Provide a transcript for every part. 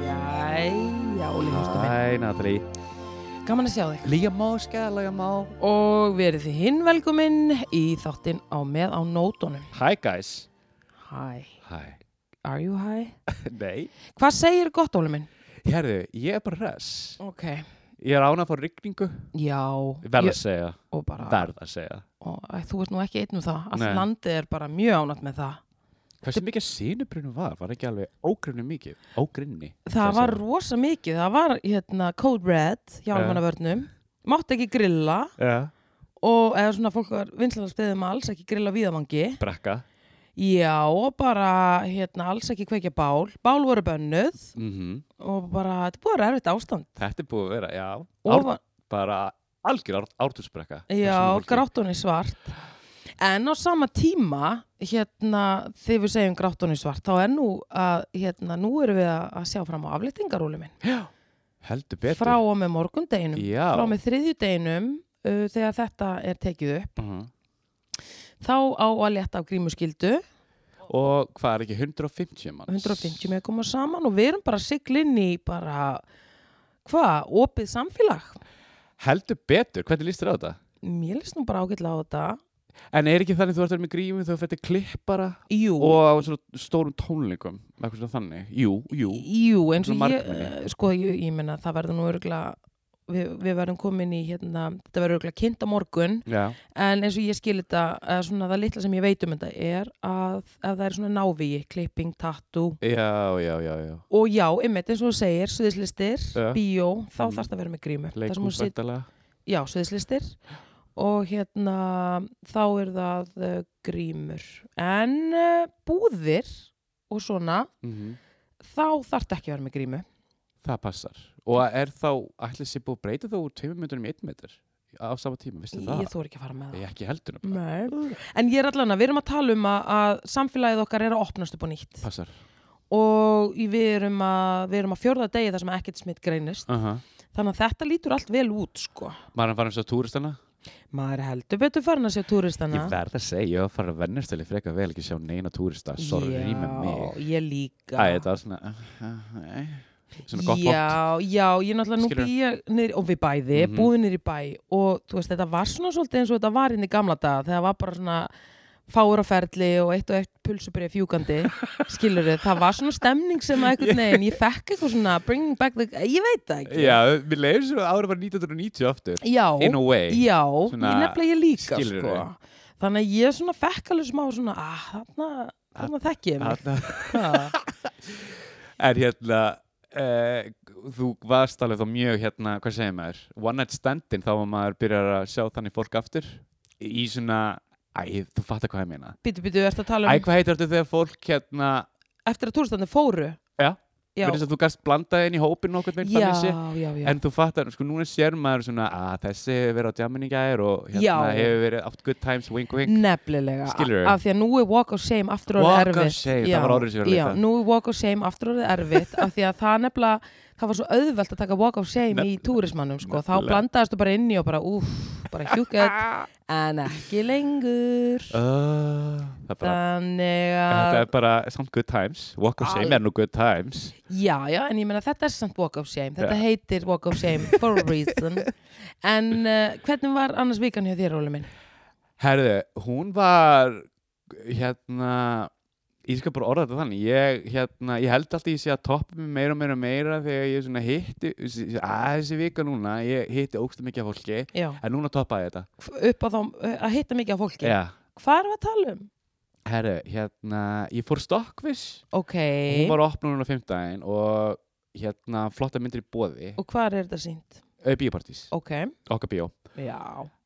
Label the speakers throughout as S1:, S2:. S1: Jæja, Óli, hlustu minn.
S2: Hæ, Natalie
S1: Gaman að sjá þig.
S2: Líga má, skæðlega má
S1: Og verið þið hinn velkominn í þáttinn á með á nótunum.
S2: Hi guys
S1: Hi,
S2: Hi
S1: are you high?
S2: Nei
S1: Hvað segir gott, Óli minn?
S2: Hérðu, ég er bara res
S1: Ok.
S2: Ég er án að fá rigningu
S1: Já.
S2: Verð að
S1: ég-
S2: segja
S1: Og bara,
S2: Verð að segja
S1: og, æ, þú ert nú ekki einn um það. Allt
S2: Nei.
S1: landið er bara mjög ánætt með það.
S2: Hversu mikið sínubrinu var? Var ekki alveg ógrinni mikið? Ógrinni
S1: Það var rosa mikið. Það var, hérna, Code Red hjá
S2: Já.
S1: almannavörnum. Mátt ekki grilla
S2: Já
S1: og eða svona fólk var vinslega að spyðum alls ekki grilla viðamangi.
S2: Brekka
S1: Já, og bara hérna alls ekki kveikja bál. Bál voru bönnuð
S2: Mhm.
S1: og bara, þetta er búið að vera erfitt ástand.
S2: Þetta er búið að vera, já
S1: Og,
S2: Ár,
S1: var-
S2: Bara algjör ár, ártusbrekka
S1: já, gráttunni svart. En á sama tíma, hérna, þegar við segjum gráttunni svart, þá er nú að, hérna, nú erum við að að sjá fram á aflýtingarúli minn.
S2: Heldur betur
S1: Frá og með morgundeginum,
S2: Já.
S1: frá og með þriðjudeginum, uh, þegar þetta er tekið upp,
S2: uh
S1: þá á að leta af grímuskyldu,
S2: Og hvað er ekki 150 manns?
S1: 150 með koma saman og við erum bara siglinn í bara, hvað, opið samfélag.
S2: Heldur betur, hvernig líst þér á þetta?
S1: Mér líst nú bara ágætlega á þetta.
S2: En er ekki þannig þú ert að vera með grímu þú fættir klippara
S1: Jú,
S2: og á svona stórum tónleikum eitthvað svona þannig, jú, jú
S1: jú eins og
S2: Svona
S1: ég,
S2: margmenni.
S1: eh, sko, ég, ég menna það verður nú örgulega, við, við verðum komin í hérna, þetta verður örgulega kynnt á morgun,
S2: Já,
S1: en eins og ég skil þetta, eða svona það litla sem ég veit um þetta er að, að það er svona návíi, klipping, tattoo
S2: já, já, já, já.
S1: og já, einmitt eins og þú segir, sviðislistir,
S2: Já.
S1: bíó, þá
S2: Mm.
S1: mm. þarfst að vera með grímu. Það sem þú
S2: leikhús
S1: sit-
S2: væntanlega.
S1: Já, sviðislistir og hérna þá er það uh, grímur. En uh, búðir og svona,
S2: Mhm.
S1: þá þarf ekki að vera með grímu.
S2: Það passar og er þá, ætli sér búið að breyta þá úr tveimur myndunum í einn myndur á sama tíma, veistu það?
S1: Ég þóri ekki að fara með það.
S2: Ég ekki heldur nefnilega.
S1: Nei. En ég er allan að við erum að tala um að, að samfélagið okkar er að opnast upp á nýtt
S2: Passar
S1: og í- við erum að, við erum að fjórða degi þar sem ekkert smitt greinist.
S2: uh -huh.
S1: Þannig að þetta lítur allt vel út sko.
S2: Maður er að fara eins og túristana
S1: Maður er heldur betur farin að sjá túristana.
S2: Ég verð að segja, ég var að fara að vennisteli frekar vel ekki sjá neina túrista, sorry með mig
S1: Já, ég líka.
S2: Æ, þetta var svona uh, uh, uh, Svona gott vott
S1: já, já, ég náttúrulega nú
S2: Skilurðu?
S1: býja niður, og við bæði, mm
S2: Mhm.
S1: niður í bæ og þú veist, þetta var svona svolítið eins og þetta var inn í gamla daga, þegar var bara svona fáur á ferli og eitt og eitt pulsubrið fjúkandi, skilur þið það var svona stemning sem að einhvern veginn ég fekk eitthvað svona, bring back the ég veit það ekki,
S2: Já, við leiðum svo að ára var 1990 aftur
S1: já,
S2: In a way
S1: já
S2: Svona,
S1: ég nefnilega ég líka,
S2: skilurðu?
S1: sko þannig að ég svona fekk alveg smá svona, ah, þarna þarna þekki ég mig,
S2: Þarna-
S1: Ha.
S2: En hérna uh, Þú varst alveg þá mjög hérna Hvað segir maður? One night standin Þá var maður byrjar að sjá þannig fólk aftur Í svona Æ, þú fattar hvað ég meina
S1: bítu, bítu, ertu að tala um
S2: Æ, hvað heitir þetta þegar fólk hérna
S1: eftir að túrstandi fóru
S2: Já.
S1: já,
S2: Verðist að þú gast blandaði inn í hópin nokkuð með
S1: já,
S2: þannig sé
S1: já, já.
S2: En þú fattar, sko núna sér maður svona að þessi hefur verið á djamin í gær og hérna
S1: Já.
S2: hefur verið átt good times, wink wink
S1: Nefnilega,
S2: Skilurðu?
S1: af því að nú er walk of shame aftur orðið
S2: Walk of
S1: erfitt
S2: shame, það var orðið sem ég var að
S1: já,
S2: leita.
S1: Nú er walk of shame aftur orðið erfitt af því að það nefnilega, það var svo auðvelt að taka walk of shame í túrismannum sko. þá
S2: nefnilega.
S1: blandaðist þú bara inn í og bara úff, bara hjúkett, en ekki lengur
S2: uh, Það er bara
S1: Þannig
S2: Þetta
S1: að
S2: er bara samt good times Walk of shame
S1: Al-
S2: er nú good times
S1: Já, já, en ég meina þetta er samt walk of shame Þetta
S2: Já.
S1: heitir walk of shame for a reason En uh, hvernig var annars vikan hjá þér, Óli minn?
S2: Herðu, hún var hérna ég skal bara orða þetta þannig ég, hérna, ég held alltaf ég sé að toppa mig meira og meira og meira þegar ég svona hitti að þessi vika núna, ég hitti ógstu mikið af fólki
S1: Já,
S2: en núna toppaði ég þetta
S1: upp á þá eh, að hitta mikið af fólki
S2: Já,
S1: Hvað erum við að tala um?
S2: herðu, hérna ég fór Stokkviss
S1: Ok,
S2: hún var opnur núna 15 og hérna flotta myndir í bóði
S1: og hvað er þetta sínt?
S2: okay. bíópartís,
S1: Ok,
S2: okkar bíó
S1: já,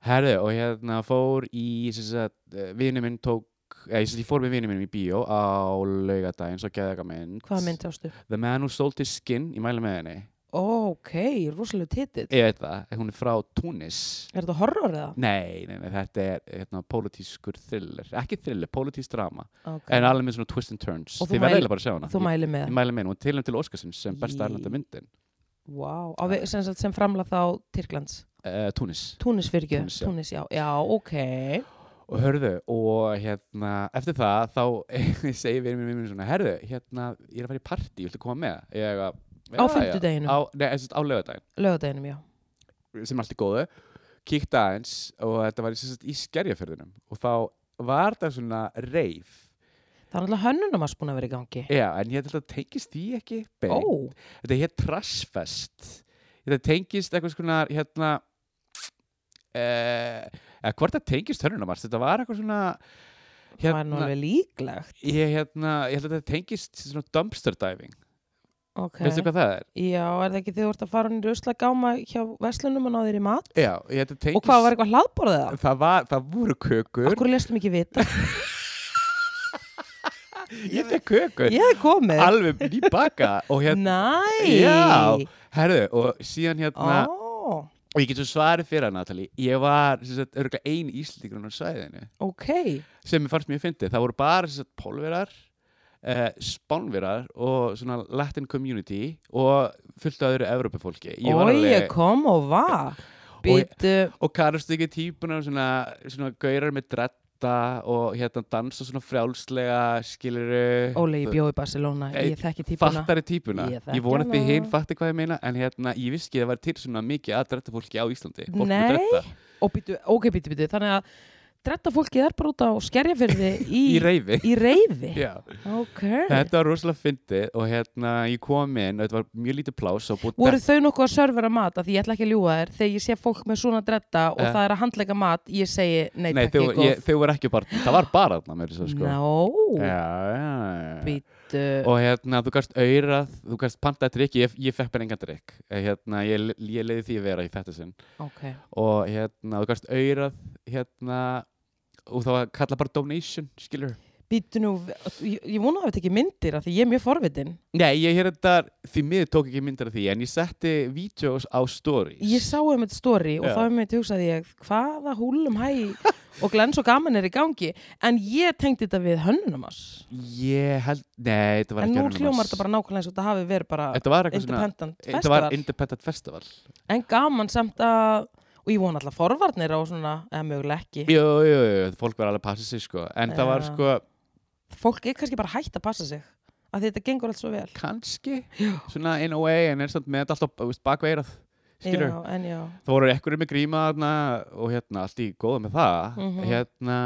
S2: Herðu, og hérna fór í, sem sagt, vinnu minn tók, eða ég, ég fór með vinnu minn í bíó á laugadaginn, svo geði eitthvað mynd.
S1: hvað mynd ástu?
S2: The Man Who Sold His Skin, ég mæla með henni.
S1: ok, rosalega titill
S2: ég veit það, hún er frá Tunis
S1: er þetta horror eða?
S2: nei, nei, nei þetta er hérna, pólitískur thriller, ekki thriller, pólitísk drama
S1: Okay.
S2: en alveg með svona twists and turns
S1: Og þú
S2: þið verða
S1: mæl-
S2: eiginlega bara að sjá hana
S1: þú
S2: Ég-
S1: mæli með
S2: ég
S1: það?
S2: mæli með henni, hún tilum til Óskarsins sem besta erlenda myndin
S1: wow. Á við- sem, sagt sem framla þá Tyrklands
S2: uh, Tunis
S1: Túnis fyrir ekki,
S2: Túnis, já.
S1: Túnis já já, ok
S2: og hörðu og hérna eftir það þá segir við mér mér svona herðu hérna ég er að fara í partí viltu koma með ég að
S1: Á fimmtudeginum?
S2: á, nei þess að á lögadaginn
S1: lögadeginum já
S2: sem er allt í góðu kíkta aðeins og þetta var í, sem sagt, í skerjaförðunum og þá var það svona reif
S1: það er alltaf hönnunum að spúna að vera í gangi
S2: já en ég held að þetta tengist því ekki beint
S1: ó,
S2: þetta er hér Trashfest þetta tengist eitthvað svona hérna eh, eða hvort það tengist hörnunamars þetta var eitthvað svona hérna-
S1: það er nú alveg líklegt
S2: Ég, hérna, ég held að þetta tengist svona dumpster diving
S1: ok,
S2: Veistu hvað það er?
S1: já, er það ekki þegar þú ert að fara hún í rusla gáma hjá verslunum og náðu þér í mat
S2: Já, ég held að tengist
S1: og hvað var eitthvað hlaðborðið það?
S2: Það, var, það voru kökur
S1: Akkur lestum ekki vita,
S2: Ég fekk kökur
S1: ég hef komið
S2: Alveg nýbaka Og hérna
S1: Næ
S2: Já, herðu Og síðan hérna
S1: Ah. Ó,
S2: Og ég get svo svarið fyrir hann, Natalie Ég var sem sagt, örgulega ein íslendingrun á svæðinu
S1: ok
S2: Sem ég fannst mjög fyndið Það voru bara sem sagt, pólverar Uh, spánverar og svona Latin community og fullt af öðru Evrópufólki Ég var
S1: Og ég
S2: alveg-
S1: kom og var Býtu,
S2: og kannast ekki típunar svona, svona gaurar með dretta og hérna dansa svona frjálslega skiluru
S1: Óli, ég bjóð í Barcelona
S2: Ei,
S1: Ég þekki típuna
S2: fattari típuna
S1: Ég
S2: ég,
S1: þekki
S2: vona
S1: hana.
S2: því hinn fatti hvað ég meina en hérna ég vissi ekki að það var til svona mikið að dretta fólki á Íslandi fólk
S1: Nei.
S2: með dretta
S1: Og býtu, ok, býtu, býtu Þannig að dretta fólkið er bara út á skerjafyrði í,
S2: í reyfi
S1: í reyði
S2: Já.
S1: Ok
S2: þetta var rosalega fyndið og hérna ég kom inn og þetta var mjög lítið plás og búið
S1: Voru þau nokkuð að servera mat af Því ég ætla ekki að ljúga þér Þegar ég sé fólk með svona dretta og
S2: Eh.
S1: það er að handleika mat Ég segi, nei,
S2: Nei,
S1: takk
S2: þau,
S1: ég
S2: ég,
S1: góð
S2: þau voru ekki bara, það var bara þarna með þess að sko
S1: Nó,
S2: Já, já, já.
S1: býtu
S2: og hérna, þú gast aurað, þú gast pantað drikk, ég, ég fekk bara engan drikk Eh, hérna, ég, ég leiði því að vera í þetta sinn
S1: Ok,
S2: og hérna, þú gast aurað hérna, og það var kallað bara donation, skilur
S1: býtu nú Ég, ég vona að þetta ekki myndir af Því ég er mjög forvitin
S2: Nei, ég hér þetta, því miður tók ekki myndir af því en ég setti vídeos á stories
S1: Ég sá um þetta story og
S2: Já.
S1: þá um þetta hugsaði ég hvaða húlum hæ og glens og gaman er í gangi en ég tengdi þetta við hönnunumars
S2: Ég held, nei, þetta
S1: en
S2: var ekki
S1: nú
S2: Anonymous.
S1: hljómar þetta bara nákvæmlega eins og þetta hafi verið bara
S2: Þetta var eitthvað svona
S1: independent
S2: Þetta var
S1: festival
S2: Independent Festival
S1: en gaman samt að og ég vona alltaf forvarnir á svona eða mögulega ekki
S2: Jú, jú, jú, jú, fólk var alveg að passa sig sko en það var
S1: Já.
S2: sko,
S1: fólk er kannski bara hægt að passa sig af því þetta gengur allt svo vel
S2: kannski svona in a way, en er samt með þetta alltaf þú veist, bakveirað, skilur
S1: já, en já,
S2: þá voru ekkur með gríma þarna og hérna allt í góða með það
S1: Mhm.
S2: hérna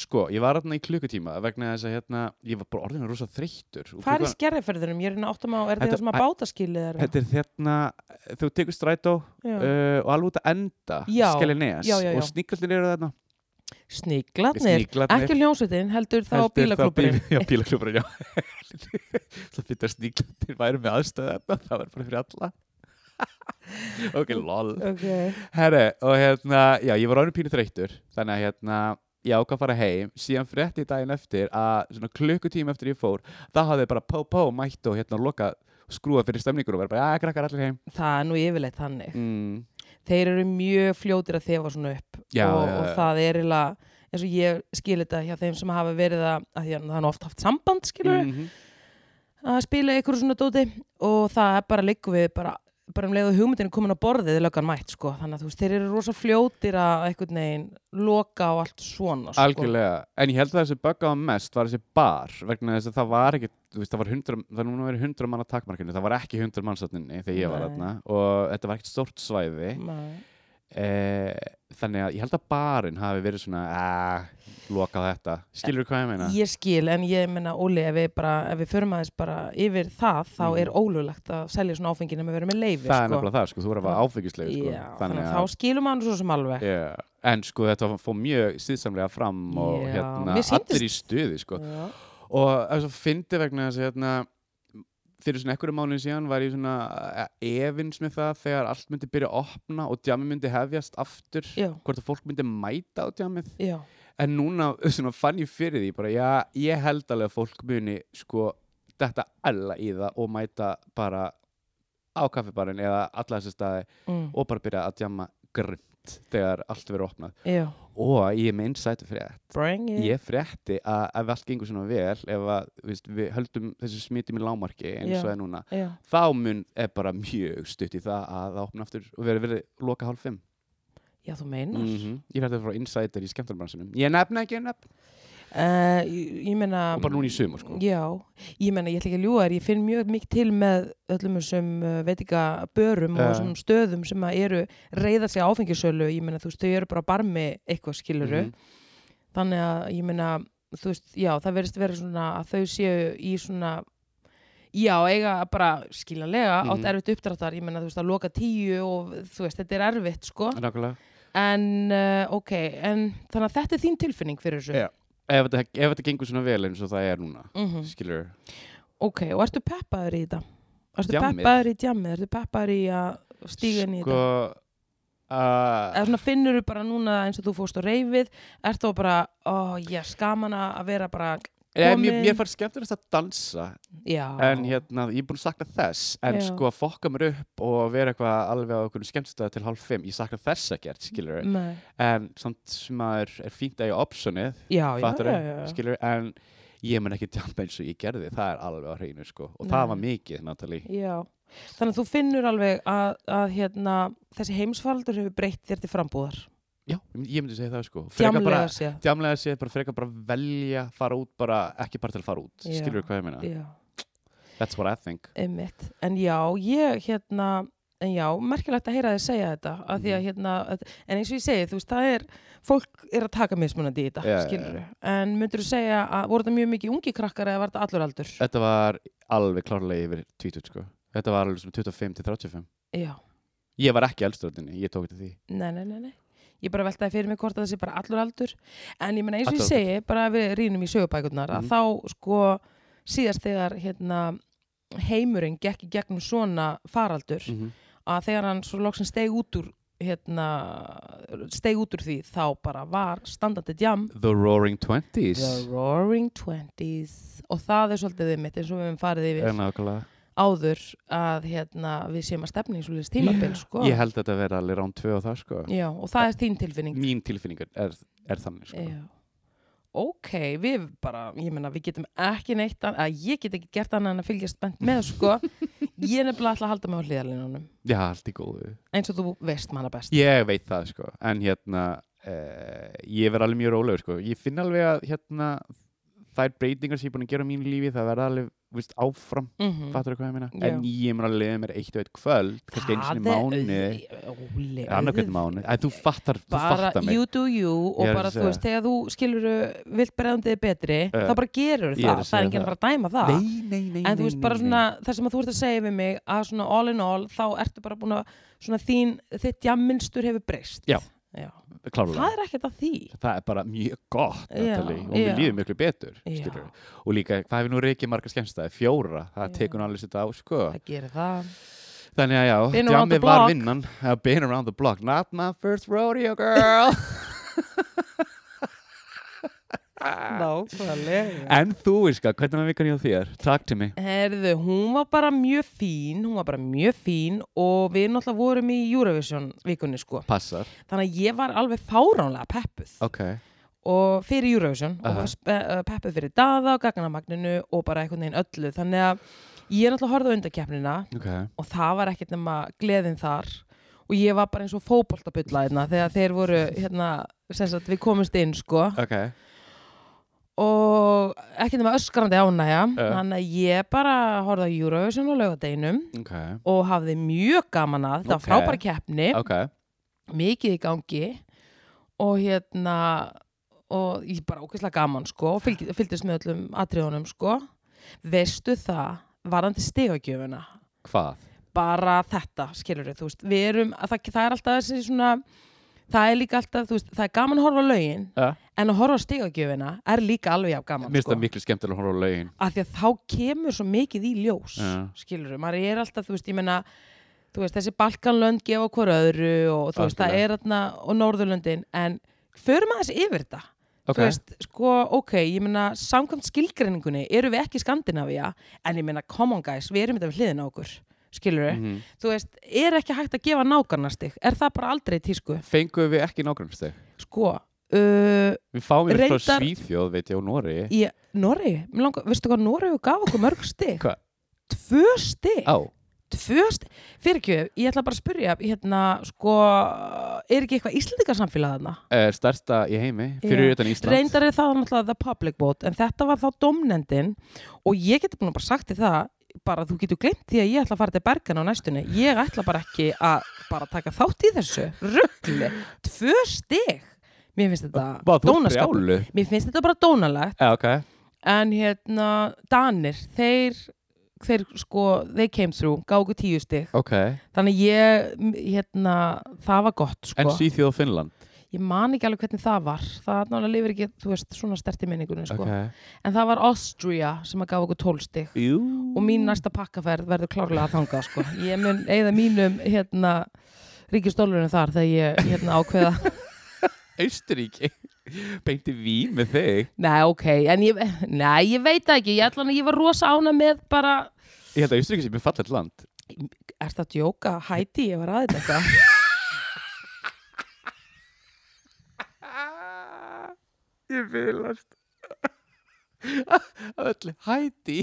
S2: sko, ég var þarna í klukkutíma vegna þess að hérna, ég var bara orðinu rosa þreyttur
S1: hvað er
S2: Og
S1: í
S2: klukkan-
S1: skerriferðinum? ég er hérna áttum á, er
S2: Þetta-
S1: þetta sem að bátaskilið er
S2: þetta er þérna, þú tekur strætó
S1: Já.
S2: uh, og alveg út að enda
S1: Já.
S2: Skeljanes
S1: Já, já, já.
S2: og sníkaldin eru þarna
S1: sniglarnir, ekki hljómsveitin heldur þá
S2: Heldur þá
S1: bílaklúpurinn
S2: bíl- Já, bílaklúburinn, já Það fyrir að sníklandin væri með aðstöða þarna það var bara fyrir alla Ok, lol
S1: okay.
S2: Herre, og hérna, já, ég var ánum pínu þreyttur, þannig að hérna, ég ákvað að fara heim, síðan frétti ég daginn eftir að svona klukkutíma eftir ég fór, það hafði bara pó-pó mætt og hérna loka skrúa fyrir stemningur og verið bara, já, krakkar allir heim.
S1: það er nú yfirleitt þannig
S2: Mm.
S1: þeir eru mjög fljótir að þefa svona upp
S2: Já,
S1: og,
S2: já,
S1: og
S2: já.
S1: það er eiginlega eins og ég skil þetta hjá þeim sem hafa verið að, að því að það er nú oft haft samband skilur
S2: -hmm. Mm.
S1: að spila ykkur svona dóti og það er bara liggu við bara, bara um leiðu hugmyndin er komin á borðið er löggan mætt sko þannig að þú veist þeir eru rosa fljótir að einhvern veginn loka og allt svona sko.
S2: Algjörlega, en ég held að þessi böggaða mest var þessi bar, vegna þess að það var ekki, þú veist, það var hundra, það er núna verið hundra manna takkmarkinu, það var ekki hundra mannsatninni þegar ég var
S1: Nei.
S2: þarna og þetta var ekkert stórt svæði,
S1: Nei.
S2: Eh, þannig að ég held að barinn hafi verið svona að loka þetta skilur hvað ég meina
S1: ég skil en ég menna Óli ef við, bara, ef við förum aðeins bara yfir það þá
S2: Mm.
S1: er ólulegt að selja svona áfengina með verið með leifi
S2: það er
S1: sko.
S2: nefnilega það sko, þú er að vera áfengislegu sko.
S1: Já, þannig að þá skilum hann svo sem alveg
S2: yeah. en sko þetta fór mjög síðsamlega fram og
S1: Já,
S2: hérna,
S1: mér sýndist-
S2: allir í stuði sko.
S1: Já.
S2: og það er svo fyndi vegna þess að hérna, fyrir svona einhverju mánuði síðan var ég svona eh, efins með það þegar allt myndi byrja að opna og djami myndi hefjast aftur
S1: Já.
S2: hvort að fólk myndi mæta á djamið
S1: Já.
S2: en núna svona, fann ég fyrir því bara, já, ég held alveg að fólk muni sko, þetta alla í það og mæta bara á kaffibarinn eða alla þessi staði
S1: mm,
S2: og bara byrja að djamma grönt þegar allt verið opnað
S1: já,
S2: og ég er með insight frétt
S1: bring it
S2: ég frétti að ef allt gengur svona vel ef að, viðst, við höldum þessu smitum í lámarki eins
S1: Já.
S2: og það er núna
S1: já,
S2: þá mun er bara mjög stutt í það að það opna aftur og verið verið loka hálf fimm
S1: já, þú meinar
S2: mm ég frétti það frá insighter í skemmtarnbransunum ég nefna ekki nefn
S1: Eh, ég, ég meina
S2: og bara núna í sumar sko
S1: já, ég meina, ég ætla ekki að ljúga þér ég finn mjög mikið til með öllum þessum eh, veit ekki að börum
S2: Já.
S1: og þessum stöðum sem að eru reyða sig á áfengisölu ég meina, þú veist, þau eru bara á barmi eitthvað skiluru
S2: Mhm.
S1: þannig að ég meina þú veist, já, það verðist vera svona að þau séu í svona já, eiga bara skiljanlega
S2: Mhm.
S1: átt erfitt uppdráttar, ég meina þú veist að loka tíu og þú veist, þetta er erfitt sko
S2: Mhm, Nákvæmlega.
S1: en uh, ok, en þannig að þetta er þín tilfinning fyrir þessu
S2: Já. ef þetta, ef þetta gengur svona vel eins og það er núna
S1: Mhm.
S2: skilur
S1: ok, og ertu peppaður í þetta? ertu
S2: Djammið?
S1: peppaður í djammið, ertu peppaður í að stíga inn í
S2: sko
S1: þetta?
S2: að
S1: eða svona finnur þú bara núna eins og þú fórst á reyfið ertu þá bara, ó, ég skaman að vera bara,
S2: Eh, mér,
S1: komin-
S2: mér fannst skemmtilegast að dansa
S1: já
S2: en hérna, ég er búin að sakna þess en
S1: Já.
S2: sko að fokka mér upp og vera eitthvað alveg á okkur skemmtistöða til hálf fimm ég sakna þess ekkert, skilur
S1: Nei.
S2: en samt sem að er, er fínt að ég optionið,
S1: já, já,
S2: fattar
S1: já, já, já.
S2: skilur en ég mun ekki djampa eins og ég gerði það er alveg á hreinu sko og
S1: Nei.
S2: það var mikið, Natalie
S1: Já, þannig að þú finnur alveg að, að hérna, þessi heimsfaldur hefur breytt þér til frambúðar.
S2: já, ég myndi segja það sko Frekar bara-
S1: Djamlega sé.
S2: djamlega sé bara frekar bara velja fara út bara, ekki bara til að fara út
S1: Já.
S2: skilur hvað ég meina,
S1: Já,
S2: that's what I think
S1: einmitt. En já, ég hérna, en já, merkilegt að heyra þið segja þetta, að því að
S2: Mhm.
S1: hérna, að, en eins og ég segi, þú veist, það er, fólk er að taka mismunandi í þetta,
S2: Já, já,
S1: yeah,
S2: já.
S1: skilur En myndur þú segja að voru þetta mjög mikið ungi krakkar eða var þetta allur aldur?
S2: þetta var alveg klárlega yfir 20 sko þetta var alveg svona 25 til 35
S1: Já,
S2: ég var ekki eldstöðinni, ég tók þetta því
S1: nei, nei, nei, nei. Ég bara veltaði fyrir mig hvort að þessi bara allur aldur. En ég meina eins og ég
S2: Allur
S1: segi, bara ef við rýnum í sögubækurnar,
S2: Mhm.
S1: að þá sko síðast þegar hérna, heimurinn gekk í gegnum svona faraldur,
S2: Mhm.
S1: að þegar hann svo loksin steig út úr hérna, steig út úr því, þá bara var standandi djam
S2: The Roaring Twenties
S1: The Roaring Twenties og það er svolítið þið mitt eins og við hefum farið yfir
S2: er nákvæmlega
S1: áður að hérna, við séum að stefni í svolítið tímabil sko.
S2: ég held að þetta verði alveg rán 2 og það sko
S1: Já, og það er þín tilfinning
S2: mín tilfinningur er, er þannig sko
S1: Já. Ok, við bara, ég meina, við getum ekki neitt, an- að ég get ekki gert annað en að fylgjast spennt með, sko. Ég er nefnilega alltaf að halda mig á hliðarlinunum,
S2: já, allt í góðu
S1: eins og þú veist manna best.
S2: ég veit það sko, en hérna eh, ég verð alveg mjög rólegur sko ég finn alveg að hérna þær breytingar sem ég er búin að gera á mínu lífi það verða alveg, viðst, áfram
S1: Mhm.
S2: fattur hvað ég meina,
S1: Já.
S2: en ég mun alveg leiða mér eitt og eitt kvöld, kannski eins og
S1: Það er
S2: mánuði
S1: auð- Óli,
S2: annar
S1: auð-
S2: hvernig mánu Æ, þú fattar, þú
S1: Bara
S2: fattar mig
S1: you do you og
S2: Ég er að
S1: bara, þú
S2: segja.
S1: veist, þegar þú skilur uh, vilt bregðandi betri,
S2: Eh,
S1: þá bara gerur það.
S2: ég er að
S1: Það er
S2: segja
S1: enginn að
S2: það.
S1: fara að dæma það.
S2: nei, nei, nei,
S1: en þú
S2: nei,
S1: veist
S2: nei,
S1: bara
S2: nei.
S1: svona það sem að þú ert að segja við mig að svona all in all þá ertu bara búin að svona þín þitt jamminstur hefur breyst
S2: Já.
S1: Já.
S2: Klárlega.
S1: það er ekkert að því
S2: það er bara mjög gott
S1: Já,
S2: Natalie, og mér
S1: já.
S2: líður miklu betur
S1: Já.
S2: skilurðu. og líka, hvað hefur nú reikið margar skemmstæði fjóra, það
S1: Já.
S2: tekur nú alveg sitt á sko.
S1: það gerir það
S2: þannig að já,
S1: Been around the
S2: djammið var
S1: block.
S2: vinnan Uh, been around the block, not my first rodeo girl Ah.
S1: nákvæmlega
S2: en þú, Iska, hvernig var vikan hjá þér? takk til mig
S1: Herðu, hún var bara mjög fín, hún var bara mjög fín og við náttúrulega vorum í Eurovision vikunni sko.
S2: passar,
S1: Þannig að ég var alveg fáránlega peppuð
S2: ok
S1: og fyrir Eurovision og
S2: Aha.
S1: var spe- uh, peppuð fyrir Dada og Gagnamagninu og bara einhvern veginn öllu. Þannig að ég náttúrulega horfði á undarkeppnina
S2: ok,
S1: og það var ekkert nema gleðin þar og ég var bara eins og fótboltabulla hérna þegar þeir voru hérna sem sagt við komumst inn sko
S2: ok
S1: og ekkert nema öskrandi ánægja
S2: Eh.
S1: þannig að ég bara horfði á Eurovision á laugadeinum
S2: ok,
S1: og hafði mjög gaman að þetta var
S2: Ok.
S1: frábæra keppni
S2: ok
S1: mikið í gangi og hérna og ég bara ókvæslega gaman sko og fylg, fylgdist með öllum atriðunum sko veistu það varandi stigagjöfuna
S2: hvað?
S1: bara þetta, skilur við, þú veist, við erum, að það, það er alltaf þessi svona, það er líka alltaf, þú veist, það er gaman að horfa á lögin,
S2: Uh,
S1: en að horfa á stigagjöfina er líka alveg jafn gaman,
S2: mér finnst
S1: sko.
S2: það miklu skemmtilega að horfa á lögin
S1: Af því að þá kemur svo mikið í ljós,
S2: Já.
S1: skilur við, maður er alltaf, þú veist, ég menna, þú veist, þessi Balkanlönd gefa hver öðru og þú veist, það
S2: Algjörlega.
S1: er þarna, og Norðurlöndin, en förum aðeins yfir þetta,
S2: ok,
S1: þú veist, sko, ok, ég meina, samkvæmt skilgreiningunni eru við ekki Skandinavía, en ég meina, come on guys, við erum þetta við hliðin á okkur. skilur
S2: Mhm.
S1: þú veist, er ekki hægt að gefa nákvæmnastig er það bara aldrei í tísku
S2: Fengum við ekki nágrannsteg
S1: sko, uh,
S2: Við fáum við frá
S1: Reyndar-
S2: Svíþjóð, veit ég, og Nóri
S1: í Norri langa, veistu hvað Norri gaf okkur mörg stig
S2: Hvað?
S1: tvö stig
S2: Á,
S1: tvö stig, fyrir ekki, ég ætla bara að spyrja hérna, sko er ekki eitthvað íslendingarsamfélag þarna
S2: eh, starsta í heimi,
S1: Já.
S2: fyrir utan Ísland
S1: reyndar er það náttúrulega the public vote en þetta var þá domnendin og ég geti búin að bara sagt því það bara þú getur glemt því að ég ætla að fara til Bergen á næstunni ég ætla bara ekki að bara taka þátt í þessu ruggli, tvö stig mér finnst
S2: Bá,
S1: þetta
S2: þú ert
S1: dónaskapur.
S2: brjálu
S1: mér finnst þetta bara dónalegt
S2: Já, ok
S1: en hérna, Danir þeir, þeir sko they came through, gáku tíu stig
S2: Ok,
S1: þannig ég, hérna það var gott sko
S2: en Svíþjóð og Finnland
S1: ég man ekki alveg hvernig það var það náttúrulega lifir ekki, þú veist, svona sterti minningunum sko.
S2: Ok,
S1: en það var Austria sem að gaf okkur tólstig
S2: jú
S1: og mín næsta pakkaferð verður klárlega að þanga sko. ég mun eigða mínum hérna, ríkistólurinn þar þegar ég hérna, ákveða
S2: Austuríki Beinti vín með þig
S1: nei, ok, en ég, nei, ég veit það ekki ég, ætlan, ég var rosa ána með bara
S2: Ég held að Austuríki sé mjög fallet land
S1: er það djóka, hæti, ég var aðeins þetta
S2: Ég vilast Öllu, hæti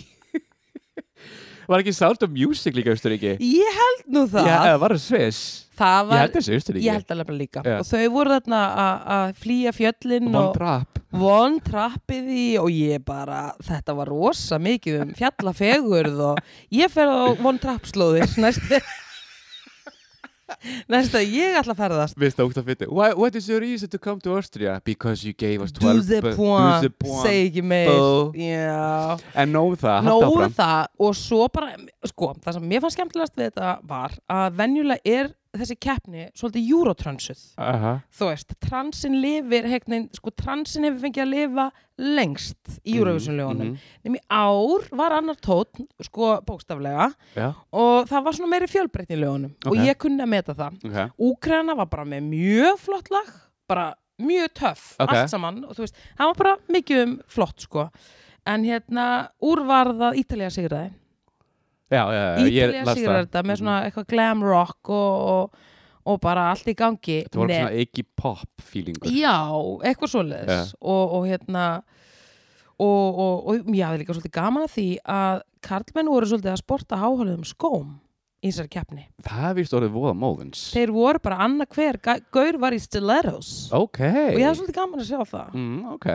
S2: Var ekki Sound of Music líka Austuríki?
S1: ég held nú það
S2: Já, eða var það Sviss?
S1: það
S2: Ég
S1: var,
S2: held þessi Austuríki
S1: ég held alveg bara líka
S2: Já.
S1: og þau voru þarna að- að flýja fjöllin
S2: One
S1: og
S2: Trap
S1: von trappið í og ég bara, þetta var rosa mikið um fjallafegurð og ég fer á von trappslóðir næsta næsta, ég ætla að ferðast
S2: Mér stókt að fyndi Why- What is your reason to come to Austria? Because you gave us 12
S1: Douze
S2: bu-
S1: point,
S2: douze point.
S1: segi ekki meir
S2: Bo.
S1: Já.
S2: En nóg það, halda
S1: Nóg
S2: áfram
S1: um það og svo bara, sko, það sem mér fannst skemmtilegast við þetta var að venjulega er þessi keppni svolítið júrótrönsuð
S2: Aha.
S1: þú veist, transin lifir hegnin, sko, transin hefur fengið að lifa lengst í Eurovision-lögunum
S2: mhm.
S1: nema í ár var annar tótt sko, bókstaflega
S2: Já,
S1: og það var svona meiri fjölbreytni í lögunum
S2: Ok.
S1: og ég kunni að meta það
S2: ok
S1: Úkraina var bara með mjög flott lag bara mjög töff,
S2: Ok.
S1: allt saman og þú veist, það var bara mikið um flott sko en hérna, úr var það Ítalía sigraði
S2: Já, já, já, Eh, ég
S1: Ítalía
S2: las
S1: sigraði þetta með svona eitthvað glam rock og, og, og bara allt í gangi
S2: Þetta var
S1: Nei.
S2: svona ekki pop feelingur
S1: Já, eitthvað svoleiðis og, og hérna og, og, og já, það er líka svolítið gaman að því að karlmenn voru svolítið að sporta háhaldum skóm í þessari keppni.
S2: Það er víst orðið voða móðins
S1: Þeir voru bara annað hver, ga- gaur var í stilettos
S2: Ok
S1: og ég hafði svolítið gaman að sjá það.
S2: mm, Ok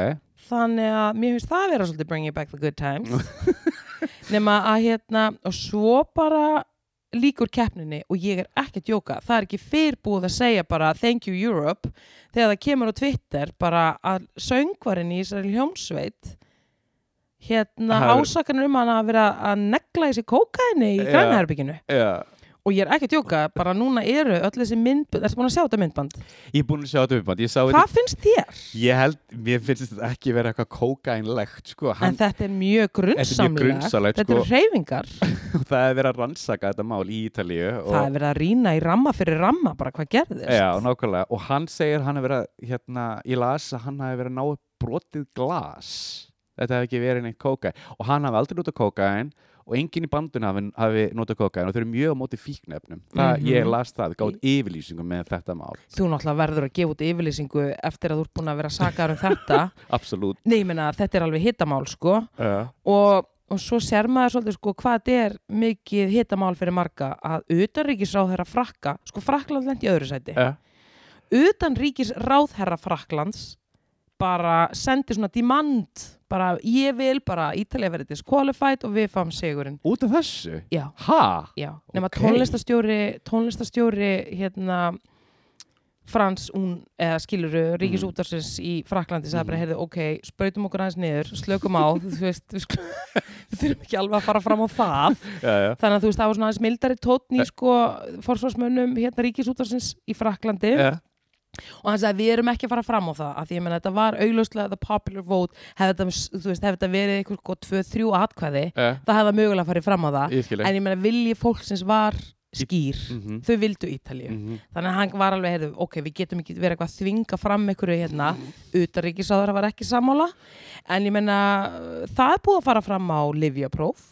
S1: Þannig að mér finnst það vera svolítið bringing back the good times. Nema að hérna, og svo bara líkur keppninni og ég er ekki að djóka það er ekki fyrbúð að segja bara thank you Europe þegar það kemur á Twitter bara að söngvarinn í þessari hljómsveit hérna
S2: Það er-
S1: ásakanur um hann að vera að negla í sig kókaini í
S2: Já.
S1: grænherbygginu
S2: Já
S1: og ég er ekki að djóka, bara núna eru öll þessi myndbönd, ertu búin að sjá þetta myndband?
S2: Ég er búin að sjá þetta uppband Ég sá þetta
S1: Hvað finnst þér?
S2: Ég held, mér finnst þetta ekki vera eitthvað kókainlegt sko.
S1: en
S2: Hann,
S1: þetta er mjög grunnsamlegt
S2: grunnsamlegt,
S1: þetta eru
S2: sko.
S1: hreyfingar
S2: Það er verið að rannsaka þetta mál í Ítalíu og,
S1: það er verið að rýna í ramma fyrir ramma bara hvað gerðist
S2: Já, nákvæmlega Og hann segir hann að vera hérna, Ég las að hann hafi verið að ná upp brotið glas Þetta hefði ekki verið neitt kókain Og hann hafi aldrei notað kókain Og enginn í bandun hafi, hafi notað kókain Og þau eru mjög á móti fíknefnum Það,
S1: Mhm.
S2: Ég las það, gátt yfirlýsingum með þetta mál
S1: þú náttúrulega verður að gefa út yfirlýsingu eftir að þú ert búin að vera sakaður um þetta
S2: Absolutt
S1: nei, ég meina þetta er alveg hittamál sko
S2: uh.
S1: og, og svo sér maður svolítið sko hvað þetta er mikið hittamál fyrir marga að utanríkisráðherra frakka sko Frakland lendi í öðru sæti
S2: Já.
S1: utanríkisráðherra Fraklands bara sendi svona demand bara ég vil bara Ítalía verið disqualified og við fáum sigurinn
S2: Út af þessu?
S1: já,
S2: Ha?
S1: já, nema
S2: Ok.
S1: tónlistastjóri tónlistastjóri hérna Frans, hún, eða skiluru Ríkisútarsins í Fraklandi sagði bara, heyrðu, ok, sprautum okkur aðeins niður slökum á, þú veist við, skulum, við þurfum ekki alveg að fara fram á það
S2: Já, já.
S1: þannig að þú veist, það var svona aðeins mildari tótn í sko forsvarsmönnum hérna Ríkisútarsins í Fraklandi
S2: Já.
S1: og hann sagði við erum ekki að fara fram á það af því ég meina þetta var augljóslega the popular vote hefði þetta, þú veist, hefði þetta verið eitthvað sko, tvö, þrjú atkvæði,
S2: Já.
S1: það hefði það mögulega farið fram á það
S2: Ég skil
S1: en ég meina vilji fólksins var skýr
S2: Mhm.
S1: þau vildu Ítalíu
S2: Mhm.
S1: þannig að hann var alveg, heyrðu, ok, við getum ekki verið eitthvað að þvinga fram einhverju hérna utanríkisáður var ekki sammála en ég meina, það er búið að fara fram á Livjapróf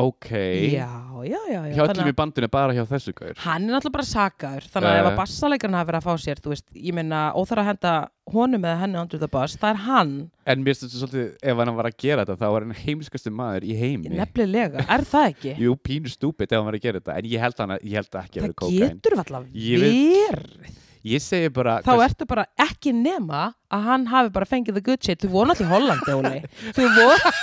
S2: Ok
S1: já, já, já, já.
S2: hjá
S1: Þannig
S2: öllum
S1: að
S2: í bandinu bara hjá þessu gaur
S1: Hann er náttúrulega bara sakaður, þannig að
S2: Já,
S1: ef
S2: já.
S1: að bassalegarinn hafi verið að fá sér, þú veist, ég meina, óþar að henda honum eða henni andur það bass, það er hann,
S2: en mér stundum svolítið, ef hann var að gera þetta þá var hann heimskastu maður í heimi
S1: nefnilega, er það ekki?
S2: jú, pínu stúpid ef hann var að gera þetta en ég held, hana, ég held ekki
S1: það
S2: að vera kókain
S1: getur valla
S2: Ég veit-
S1: verið.
S2: ég segi bara,
S1: Þá ertu bara ekki nema að hann hafi bara fengið the good shit, þú voru náttúrulega í Hollandi, Óli. Þú voru...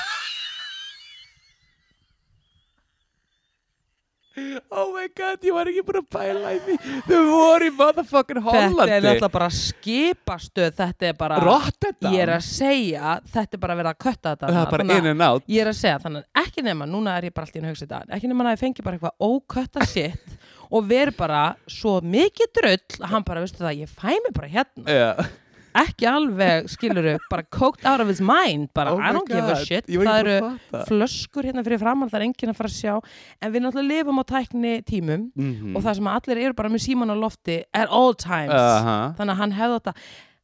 S2: oh my god, ég var ekki búin að pæla í því þau voru í motherfucking
S1: Þetta er
S2: Hollandi
S1: náttúrulega bara skipastöð, þetta er bara...
S2: Rotterdam
S1: Ég er að segja, þetta er bara verið að kötta þetta.
S2: það
S1: þarna,
S2: er bara
S1: þannig að-
S2: in and out
S1: Ég er að segja, þannig að ekki nema, núna er ég bara alltaf í hugsa þetta, ekki nema að ég fengi bara eitthvað ókötta shit og veri bara svo mikið drull að hann bara, veistu það, ég fæ mig bara hérna.
S2: yeah.
S1: Ekki alveg, skiluru, bara coked out of his mind, bara
S2: Oh my
S1: I don't give a
S2: God,
S1: shit.
S2: ég var
S1: Það
S2: ekki
S1: eru
S2: búin að fatta.
S1: flöskur hérna fyrir framann, það er enginn að fara að sjá, en við náttúrulega lifum á tækni tímum
S2: Mhm.
S1: og það sem allir eru bara með síman á lofti at all times.
S2: Aha.
S1: Þannig að hann hefði þetta,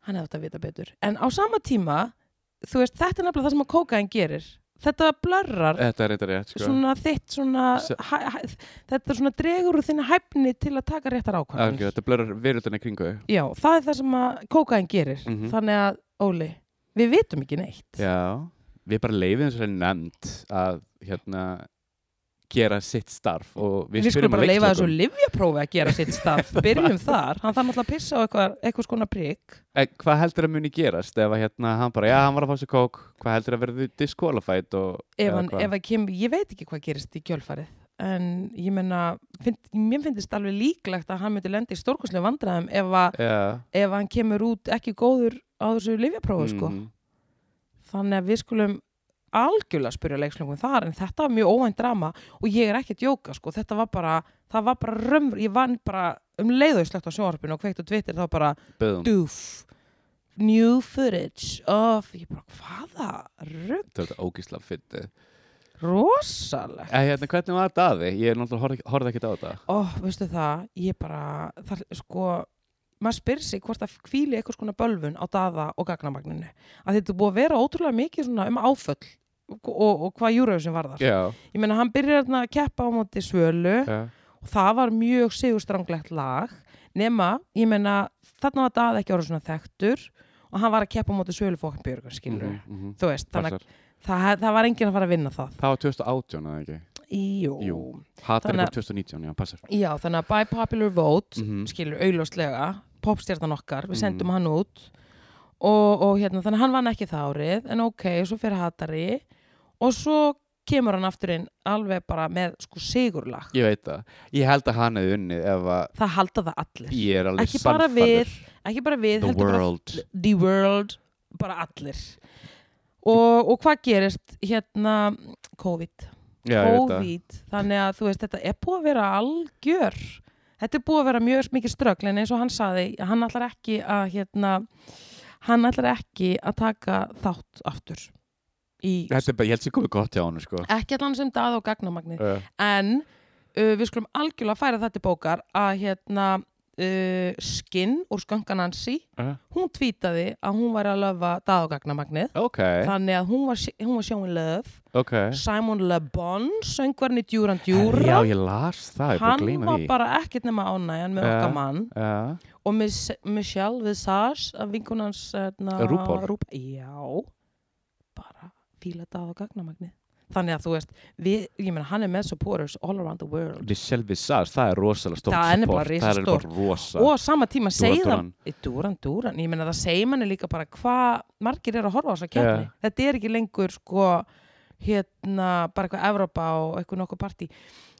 S1: hann hefði þetta vita betur. En á sama tíma, þú veist, þetta er nefnilega það sem að kókaðin gerir. Þetta blörrar
S2: Þetta er reynda rétt sko
S1: svona þitt svona,
S2: Se-
S1: hæ, hæ, þetta er svona dregur úr þinna hæfni til að taka réttar
S2: Algjör,
S1: ákvarðanir.
S2: Þetta blöður veröldinni kringu þau
S1: Já, það er það sem að kókaðin gerir.
S2: Mhm.
S1: Þannig að, Óli, við vitum ekki neitt.
S2: Já, við bara leifum þessari nefnd að hérna gera sitt starf og við, um
S1: Við, skulum bara leifa þessu
S2: veikleikum.
S1: livjaprófi að gera sitt starf. Byrjum þar, hann þarf náttúrulega að pissa á eitthvað, eitthvað skona prigg.
S2: En hvað heldur að muni gerast ef að hérna hann bara, já, hann var að fá sér kók hvað heldur að verðu disqualified og
S1: Ef
S2: eða
S1: hann,
S2: hvað?
S1: ef hann kem, ég veit ekki hvað gerist í kjölfarið. En ég menna, find, mér finnst alveg líklegt að hann myndi lendi í stórkoslega vandræðum ef, að,
S2: Já,
S1: ef hann kemur út ekki góður á þessu livjaprófi, sko.
S2: mhm.
S1: þannig að við skulum algjörlega spyrja leikslöngum þar en þetta var mjög óvænt drama og ég er ekki að djóka sko, þetta var bara, það var bara römmur, ég vann bara um leiðu slögt á sjónvarpinu og kveikt og tvittir þá bara
S2: Boom.
S1: doof, new footage of, ég bara hvaða rögg,
S2: Þetta er þetta ógísla fyndi
S1: rosalegt
S2: Hérna, hvernig var þetta aði? Ég er náttúrulega horfði ekkert á þetta
S1: ó, veistu það, ég bara það, sko, maður spyr sig hvort það hvíli eitthvað skona bölvun á daða og gagnamagninu, að þetta er búið að vera ótrúlega mikið svona um áföll og, og, og hvað júrausin varðar
S2: Já,
S1: ég meina hann byrjar þarna að keppa á móti svölu
S2: já,
S1: og það var mjög sigurstranglegt lag nema, ég meina þarna var Daði ekki orðið svona þekktur og hann var að keppa á móti svölu fókn björgur skilur
S2: mhm, mhm.
S1: þú veist, þannig
S2: Passar.
S1: að það, það var enginn að fara að vinna það
S2: Það var 2018 eða ekki?
S1: Jú.
S2: Jú. Hatar
S1: Þannig að-
S2: ykkur 2019, já, passar
S1: Já, þannig að by popular vote
S2: Mhm.
S1: skilur augljóslega, popstjarnan okkar við
S2: Mhm.
S1: sendum hann út og, og hérna, þannig að hann vann ekki það árið en ok, svo fyrir hatari og svo kemur hann aftur inn alveg bara með sko sigurlag
S2: Ég veit það. Ég held að hann hefði unnið ef að
S1: það halda það allir
S2: ég er alveg
S1: Ekki bara
S2: sannfærður.
S1: ekki bara við,
S2: The
S1: heldur
S2: world.
S1: bara the world, bara allir og, og hvað gerist hérna COVID
S2: Já, ég veit það.
S1: COVID, þannig að þú veist þetta er búið að vera algjör þetta er búið að vera mjög mikið ströggl en eins og hann saði, hann ætlar ekki að hérna, hann ætlar ekki að taka þátt aftur í,
S2: Þetta er bara, ég held sér komið gott hjá hann, sko.
S1: ekki allan sem dað og gagnamagnið
S2: Uh,
S1: en uh, við skulum algjörlega færa þetta til bókar að hérna uh, skinn úr skönganansi
S2: uh,
S1: hún tvítaði að hún var að löfa daðogagnamagnið
S2: ok,
S1: þannig að hún var, sj- hún var sjóin löf
S2: ok.
S1: Simon Le Bon, söngvarni Djúran
S2: Herri, Já,
S1: Djúra
S2: ég las það, ég bara
S1: hann
S2: gleyma
S1: var
S2: því.
S1: bara ekkert nema ánægjan með
S2: Ja.
S1: okkar mann
S2: Já,
S1: og Miss, Michelle Visage að vinkunans hérna,
S2: RuPaul.
S1: Rúp, já bara fíla daðogagnamagnið þannig að þú veist, við, ég meina hann er með supporters all around the world
S2: Michelle Visage, það er rosalega stort
S1: Það er nefnilega
S2: support. Það er
S1: risastórt.
S2: bara rosa.
S1: og á sama tíma segir það
S2: Duran.
S1: Dúran, Dúran, ég meina það segir manni líka bara hvað margir eru að horfa á þessa keppni
S2: Já.
S1: þetta er ekki lengur sko hérna bara eitthvað Evrópa og eitthvað nokkuð partí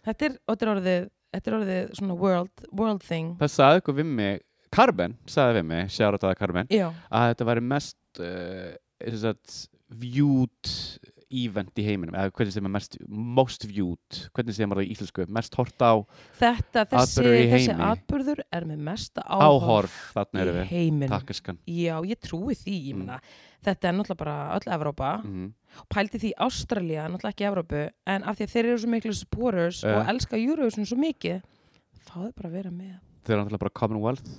S1: þetta er, þetta er orðið þetta er orðið svona world, world thing
S2: Það sagði eitthvað við mig, Carmen, sagði við mig, sjára þetta að Carmen,
S1: já,
S2: að þetta væri mest uh, þess að viewed event í heiminum, eða hvernig sem er mest most viewed, hvernig sem er það í íslensku mest hort á
S1: þetta, þessi,
S2: Atburður í
S1: þessi
S2: heimi.
S1: atburður er með mesta áhorf,
S2: áhorf, þarna erum
S1: í
S2: við Mm.
S1: heiminum
S2: takkaskan
S1: já, ég trúi því, ég meina þetta er náttúrulega bara öll Evrópa
S2: mm.
S1: pældi því Ástralía, náttúrulega ekki Evrópu en af því að þeir eru svo miklu supporters
S2: Ja.
S1: og elska Eurovision svo mikið fáðu bara að vera með
S2: þeir eru náttúrulega bara Commonwealth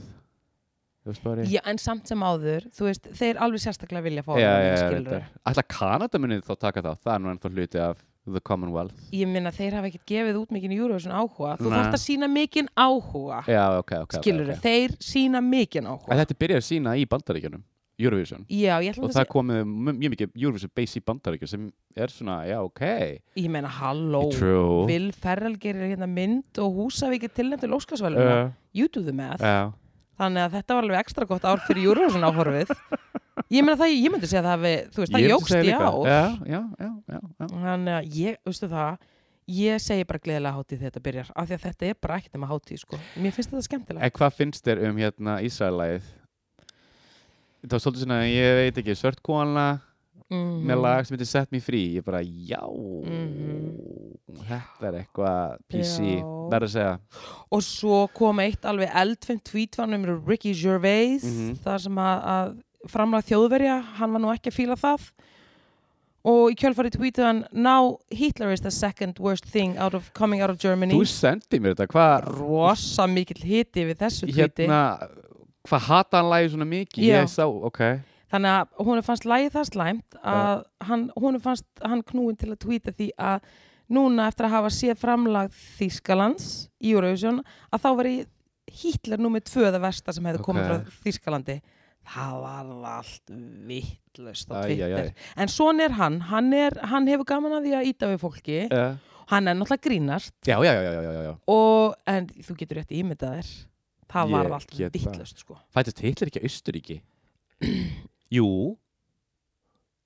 S2: þú veist bara
S1: Já, en samt sem áður, þú veist, þeir alveg sérstaklega vilja fá að
S2: já, já,
S1: vera með,
S2: já,
S1: skilurðu.
S2: reyndar. Ætla Kanada munið þá taka þá, það er nú ennþá hluti af the Commonwealth
S1: ég minna þeir hafa ekkert gefið út mikinn Eurovision áhuga þú
S2: Nei.
S1: þarft að sína mikinn áhuga
S2: Já, ok, ok, ok,
S1: skilur
S2: ok
S1: þeir sína mikinn áhuga
S2: En þetta byrjaði að sína í bandaríkjunum Eurovision
S1: já, ég ætla að
S2: og það
S1: það
S2: komið mjög mjög mikið Eurovision base í bandaríkjum sem er svona, já, ok
S1: ég meina halló
S2: True
S1: Vil Ferrell gerir hérna mynd og Húsavík er tilnæmt til Óskarsvæluna
S2: uh,
S1: you do the math
S2: uh,
S1: þannig að þetta var alveg ekstra gott ár fyrir Eurovision áhorfið ég meina það, ég myndi segja það hafi, þú veist, það jógst í ár
S2: Já, já, já, já, já.
S1: þannig að ég, veistu það ég segi bara gleðilega hátíð þegar þetta byrjar af því að þetta er bara ekkert nema hátíð, sko mér finnst þetta skemmtilega
S2: En hvað finnst þér um hérna Ísraelæð? Það var svolítið svona, ég veit ekki, sörtkona
S1: mm
S2: með lag sem heitir Set Me Free ég bara, já
S1: Mhm.
S2: þetta er eitthvað PC,
S1: Já.
S2: verður að segja
S1: og svo kom eitt alveg eldfimt tweet var um Ricky Gervais
S2: Mhm.
S1: þar sem að, að framlega þjóðverja hann var nú ekki að fíla það og í kjölfari tweetið hann Now Hitler is the second worst thing out of coming out of Germany
S2: Þú sendið mér þetta, hvað
S1: rosa mikill hiti við þessu tweeti
S2: hérna, hvað hata hann lagið svona mikið
S1: Já.
S2: ég sá, ok
S1: þannig að hún fannst lagið það slæmt að hann, hún fannst hann knúin til að tweeta því að núna eftir að hafa séð framlag Þýskalands í Eurovision að þá veri Hitler nummer tvö það versta sem hefði komið
S2: Ok.
S1: frá Þýskalandi það var allt vittlust á
S2: Æ, æ,
S1: Twitter
S2: æ.
S1: en svona er hann, hann, er, hann hefur gaman að því að íta við fólki
S2: Eh,
S1: hann er náttúrulega grínast
S2: já, já, já, já, já, já, já.
S1: og, en þú getur rétt ímyndað þér það
S2: Ég
S1: var allt
S2: get það.
S1: vittlust sko.
S2: fættist Hitler ekki að Austuríki jú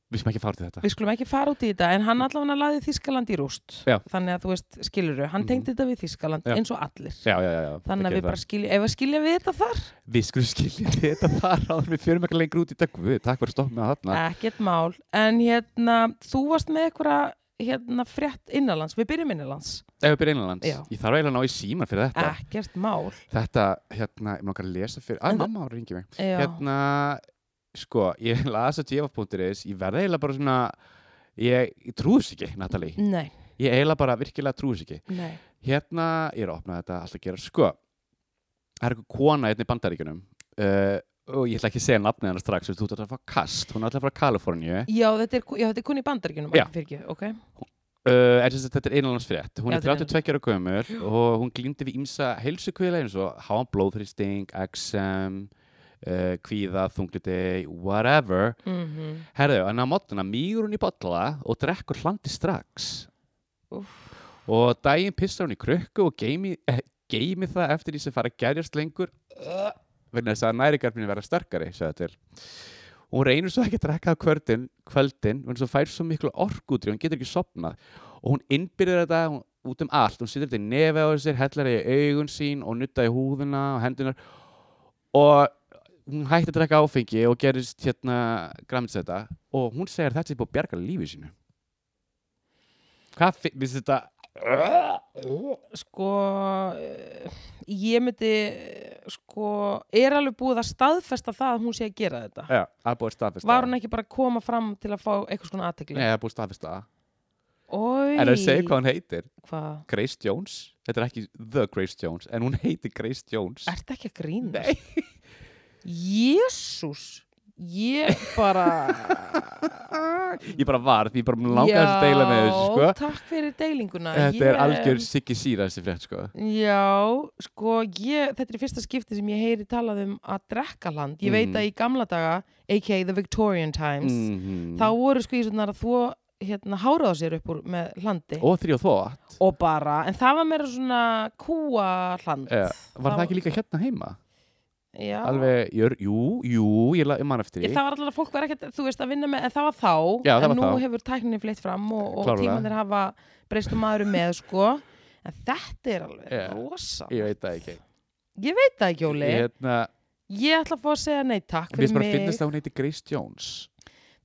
S2: við sem ekki fara til þetta
S1: við skulum ekki fara út í þetta en hann allavega laði Þískaland í rúst
S2: Já.
S1: þannig að þú veist, skilur hann
S2: Mhm.
S1: tengdi þetta við Þískaland
S2: Já.
S1: eins og allir
S2: já, já, já, já,
S1: þannig að
S2: ekki
S1: við bara skilja, ef að skilja við þetta þar
S2: það. við skulum skilja þetta þar áður en við fyrum ekki lengur út í dag Guð, takk fyrir stopp með að hafna
S1: ekkert mál, en hérna þú varst með eitthvað hérna frétt innanlands, við byrjum innanlands
S2: ef við byrja einanlands,
S1: Já.
S2: ég þarf eiginlega að ná í síman fyrir þetta
S1: ekkert mál
S2: þetta, hérna, ég mér langar að lesa fyrir að
S1: En-
S2: mamma var að ringja mig
S1: Já.
S2: hérna, sko, ég las að tjefa.is, ég verði eiginlega bara svona ég, ég trúðs ekki, Natalie
S1: nei,
S2: ég eiginlega bara virkilega trúðs ekki
S1: nei,
S2: hérna, ég er að opna þetta, allt að gera sko, það er eitthvað kona hérna í bandaríkjunum uh, og ég ætla ekki að segja nafnið hennar strax, þú veist, þú ætla að fara kast hún er alltaf frá Kaliforníu uh,
S1: já þetta er, já, þetta er kunni í bandaríkjunum
S2: Já.
S1: fyrir, ok,
S2: Eh, er þess að þetta er einanlandsfrétt hún
S1: Já,
S2: er
S1: þetta er
S2: 32 ára gömur og hún glýmdi við ímsa heilsukvila eins og háan blóðþrýsting, XM uh, kvíða, þungliti whatever
S1: mhm
S2: Herðu, en á mótana mýgur hún í bolla og drekkur hlandi strax.
S1: Úff.
S2: Og daginn pissar hún í krukku og geimi, eh, geimi það eftir því sem fara að gerjast lengur uh, vegna þess að nærigarfinni verða sterkari, segja til. Og hún reynir svo ekki að drekka á kvöldin, kvöldin vegna svo fær svo miklu orkútri, hún getur ekki sopnað. Og hún innbyrðir þetta hún, út um allt, hún situr þetta í nefi á sér, hellar í augun sín og nutta í húðuna og hendunar og hún hætti að drekka áfengi og gerist hérna græmst þetta og hún segir að þetta er búið að bjarga lífið sínu hvað finnst þetta
S1: sko eh, ég myndi eh, sko, er alveg búið að staðfesta það að hún sé að gera þetta
S2: já, það er búið að staðfesta
S1: var hún ekki bara að koma fram til að fá eitthvað svona
S2: nei,
S1: aðtekli
S2: það er búið að staðfesta það
S1: Oi,
S2: en það segir hvað hún heitir
S1: hvað
S2: Grace Jones, þetta er ekki The Grace Jones en hún heitir Grace Jones
S1: ert ekki að grína
S2: nei,
S1: jésús ég bara
S2: ég bara var því ég bara langaði að deila með þessu sko.
S1: Já, takk fyrir deilinguna
S2: þetta
S1: ég,
S2: er algjör Siggi Sýra þessi frétt sko.
S1: Já, sko, ég, þetta er í fyrsta skipti sem ég heyri talað um að drekka land. Ég veit
S2: Mhm.
S1: að í gamla daga, a.k.a. the Victorian Times,
S2: Mhm.
S1: þá voru sko í svona að þvó hérna háraða sér upp úr með hlandi og,
S2: og þrjóð þótt
S1: bara, en það var meira svona kúa hland
S2: Já, Eh, var það
S1: var-
S2: ekki líka hérna heima?
S1: Já.
S2: alveg, jör, jú, jú, ég, la- ég man eftir
S1: Ég, það
S2: því
S1: var alltaf að fólk var ekkert, þú veist, að vinna með en það var þá,
S2: Já, það
S1: en
S2: var
S1: nú
S2: þá.
S1: hefur tækninni fleitt fram og, og
S2: Klárlega.
S1: tímanir hafa breyst og maður með, sko en þetta er alveg
S2: Já.
S1: rosa
S2: ég veit það ekki
S1: veit það ekki, Óli, ég,
S2: hérna,
S1: ætla að fá að segja nei takk
S2: mér
S1: fyrir
S2: finnst bara
S1: mig,
S2: að finnast að hún heiti Grace Jones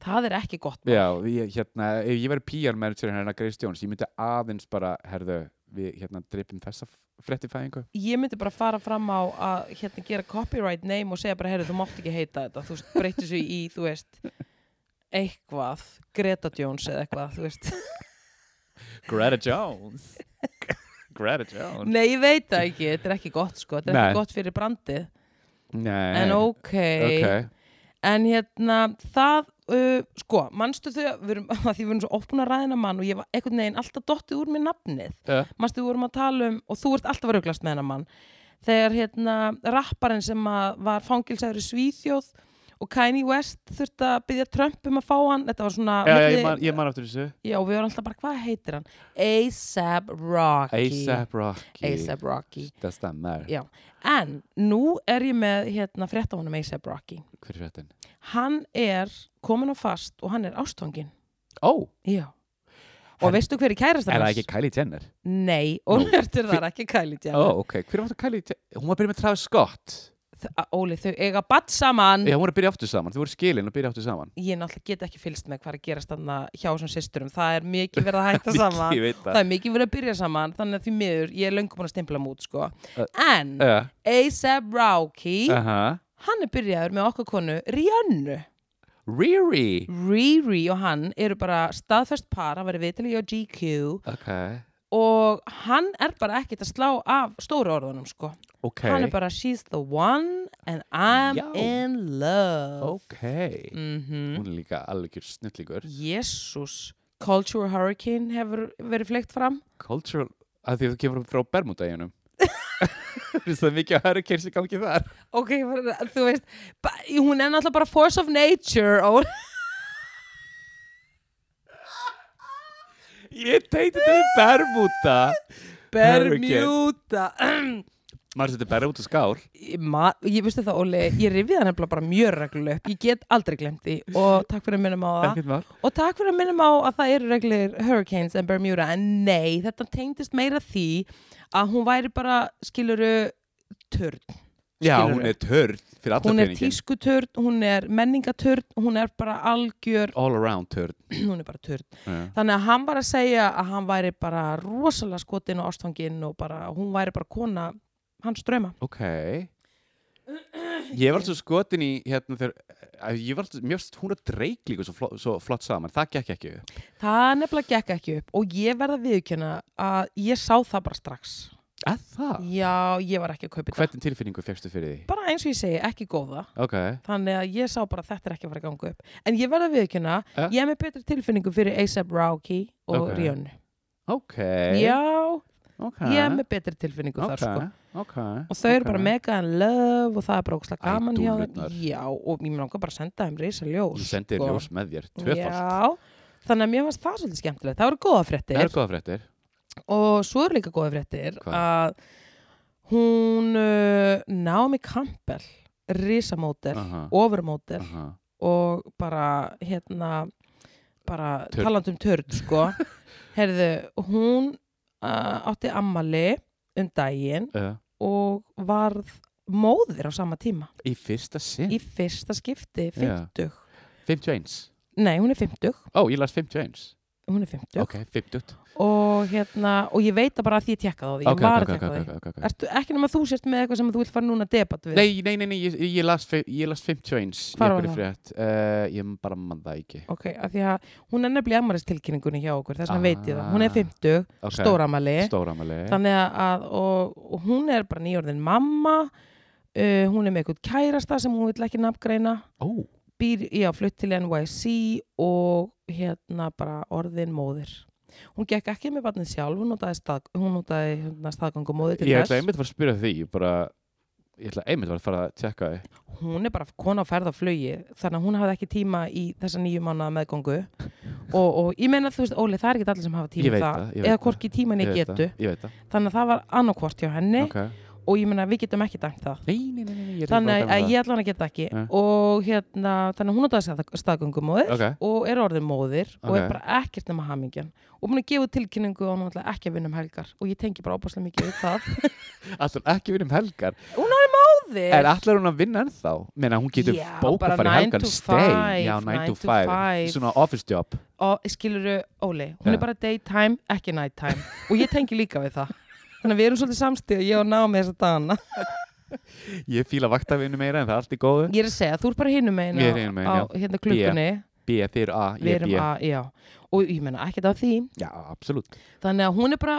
S1: það er ekki gott
S2: já, ég, hérna, ef ég væri PR manager hérna Grace Jones, ég myndi aðeins bara herðu, við hérna dreipum þessa fretti fæðingu
S1: ég myndi bara fara fram á að hérna gera copyright name og segja bara heyrðu þú mátt ekki heita þetta þú veist, breytir svo í, þú veist eitthvað, Greta Jones eða eitthvað, þú veist
S2: Greta Jones Greta Jones
S1: nei, ég veit það ekki, þetta er ekki gott sko þetta er
S2: Nei.
S1: ekki gott fyrir brandið
S2: Nei,
S1: en ok,
S2: ok
S1: en hérna það uh, sko, manstu þau að við erum, að því við erum svo opna ræðina mann og ég var einhvern veginn alltaf dottið úr mér nafnið
S2: Já.
S1: manstu við vorum að tala um, og þú ert alltaf að rauglast með hennar mann þegar hérna rapparinn sem að var fangilsæður í Svíþjóð og Kanye West þurfti að byggja Trump um að fá hann þetta var svona
S2: Já, já,
S1: milli-
S2: ég man, ég man aftur þessu
S1: já, við vorum alltaf bara, hvað heitir hann? A$AP Rocky
S2: A$AP Rocky
S1: A$AP Rocky
S2: Það stammar
S1: Já. en nú er ég með hérna frétt á honum A$AP Rocky
S2: Hver er fréttin?
S1: hann er komin á fast og hann er ástfangin
S2: Ó,
S1: já og
S2: Hann-
S1: veistu hver er kærast
S2: er það ekki Kylie Jenner?
S1: nei, ólertur það er ekki Kylie Jenner
S2: Ó, ok, hver var það Kylie Jenner? Hún var að byrja með Travis Scott
S1: Þ- Óli, þau eiga badd saman
S2: Já, hún var að byrja aftur saman, þau voru skilin og byrja aftur saman
S1: ég náttúrulega get ekki fylgst með hvað er að gerast þarna hjá þessum systurum, það er mikið verið að hætta saman,
S2: Ég veit
S1: það
S2: það
S1: er mikið verið að byrja saman þannig að því miður, ég er löngu búin að stimpla mút sko.
S2: Uh,
S1: en
S2: Já,
S1: A$AP Rocky
S2: aha
S1: hann er byrjaður með okkar konu Rihannu
S2: Riri
S1: Riri og hann eru bara staðfest par, hann verið viðtalið á GQ
S2: Ok,
S1: og hann er bara ekkert að slá af stóru orðunum sko
S2: ok
S1: hann er bara she's the one and I'm
S2: Já.
S1: in love
S2: Ok
S1: Mhm.
S2: Hún er líka algjör snillíkur
S1: Jésús Culture Hurricane hefur verið fleikt fram
S2: Cultural, að því að þú kemur frá Bermudaðjunum Það er mikið að höra kyrsi gangi þar
S1: ok, bara- þú veist ba- hún er náttúrulega bara force of nature og
S2: Ég teiti þetta við Bermuda
S1: Bermuda
S2: Maður setur Bermuda skál
S1: Ég ma- ég veistu það Óli, ég rifið það nefnilega bara mjög reglulega upp, ég get aldrei glemt því og takk fyrir að minnum á það
S2: Ekkert mál
S1: Og takk fyrir að minnum á að það eru reglir Hurricanes and Bermuda en nei, þetta tengdist meira því að hún væri bara, skiluru, törn.
S2: Já,
S1: Skilurðu?
S2: hún er törn fyrir allar
S1: Hún er
S2: peningin
S1: tískuturn, hún er menningaturn, hún er bara algjör,
S2: All around törn
S1: hún er bara törn.
S2: Já.
S1: Þannig að hann var að segja að hann væri bara rosalega skotin og ástfangin og bara, hún væri bara kona hans drauma.
S2: Ok Ég var svo skotin í hérna þegar að ég var, mér finnst hún að dreik líka svo, fló, svo flott saman, það gekk ekki upp.
S1: Það nefnilega gekk ekki upp og ég verða viðkjöna að ég sá það bara strax.
S2: Að það?
S1: Já, ég var ekki að kaupa þetta.
S2: Hvernig tilfinningu fegstu fyrir því?
S1: Bara eins og ég segi, ekki góða.
S2: Ok,
S1: þannig að ég sá bara að þetta er ekki að fara að ganga upp en ég verða viðkjöna,
S2: Ja.
S1: ég er með betri tilfinningu fyrir A$AP Rocky og
S2: Ok.
S1: okay. Rihannu
S2: ok
S1: já,
S2: ok,
S1: ég er með betri tilfinningu
S2: ok,
S1: þar sko
S2: ok
S1: og þau eru bara mega en love og það er bara ógslag
S2: Æ,
S1: gaman hjá
S2: dúllurnar.
S1: þeim já, og ég langar bara að senda þeim reysa ljós
S2: Ég sendi
S1: sko.
S2: þér ljós með þér, tvöfald
S1: já, þannig að mér fannst það svolítið skemmtilegt það voru góða
S2: Það
S1: fréttir
S2: er góða fréttir
S1: og svo eru líka góða fréttir
S2: Hvað?
S1: að hún uh, Naomi Campbell risamótel, uh
S2: Aha.
S1: ofurmótel
S2: Aha.
S1: og bara hérna bara
S2: Törn.
S1: taland um törn sko herðu, hún uh, átti ammali um daginn
S2: Uh,
S1: og varð móðir á sama tíma
S2: Í fyrsta sinn?
S1: í fyrsta skipti,
S2: Mm. Já.
S1: 50
S2: 51
S1: nei, hún er 50
S2: Ó, ég las 51
S1: hún er 50
S2: Ok, 50
S1: og hérna, og ég veit það bara að því ég tekkaði á því ég
S2: Ok,
S1: var
S2: ok,
S1: að
S2: ok,
S1: tekka á því
S2: ok, ok, ok
S1: Ertu, ekki nema þú sért með eitthvað sem þú vilt fara núna að debatt við
S2: Nei, nei, nei, nei, ég, ég, las, fe- ég las 51 í
S1: Hvar var
S2: einhverri
S1: það?
S2: frétt uh, Ég bara mann það ekki
S1: ok, af því að hún er nefnilega ammarist tilkynningunni hjá okkur þess vegna veit ég það, hún er
S2: Ah.
S1: 50
S2: okay.
S1: stóramali
S2: Stóramali
S1: þannig að og, og hún er bara nýjörðin mamma uh, hún er með eitthvað kærasta sem hún vil ekki nafngreina
S2: Ó,
S1: býr í að flutt til NYC og hérna bara orðin móðir hún gekk ekki með barnið sjálf hún notaði, stað, hún notaði hérna, staðgangumóði til
S2: Ég ætla
S1: þess
S2: einmitt var að spyrja því Ég bara Ég ætla einmitt var að fara að tjekka því
S1: hún er bara kona á ferð á flugi þannig að hún hafði ekki tíma í þessa nýju mánuða meðgöngu og, og ég meina þú veist Óli það er ekki allir sem hafa tíma
S2: Ég
S1: í
S2: veit
S1: það,
S2: það, ég veit
S1: eða
S2: það.
S1: hvorki tíman ég
S2: Ég veit
S1: getu
S2: það, Ég veit það
S1: þannig að það var annarkvort hjá henni
S2: okay.
S1: og ég meina við getum ekki dæmt það
S2: Nei, nei, nei, nei, nei, ég ætla
S1: þannig
S2: bara
S1: að
S2: dæma
S1: ég allan að geta ekki
S2: Nei.
S1: og hérna, þannig að hún notaði staðgöngumóðir
S2: það.
S1: og er orðin móðir og er
S2: Ok.
S1: bara ekkert nema hamingjan og búin að gefa út tilkynningu og hún ætla ekki að vinna um helgar og ég tengi bara opaslega mikið við það
S2: Ok, allar ekki vinna um helgar
S1: móðir
S2: Er allar hún að vinna ennþá? Meina hún getur
S1: Já,
S2: bóka
S1: bara
S2: fyrir
S1: 9
S2: helgar
S1: to
S2: Stay,
S1: 5,
S2: já, 9 to
S1: 9 to
S2: 5
S1: 5.
S2: Svona office job
S1: og skiluru Óli, hún
S2: Ja.
S1: er bara daytime, ekki nighttime og ég tengi líka við það þannig að við erum svolítið samstíð ég og ná með þessa dagana
S2: Ég fíla vaktavinu meira en það er allt í góðu
S1: ég er að segja, þú er bara hinum megin
S2: Ég er
S1: á-
S2: hinum megin,
S1: á
S2: já.
S1: hérna klukkunni,
S2: B, þið eru A,
S1: við
S2: ég er
S1: erum
S2: B
S1: að já. og ég menna ekkert á því
S2: Já, absolutt
S1: þannig að hún er bara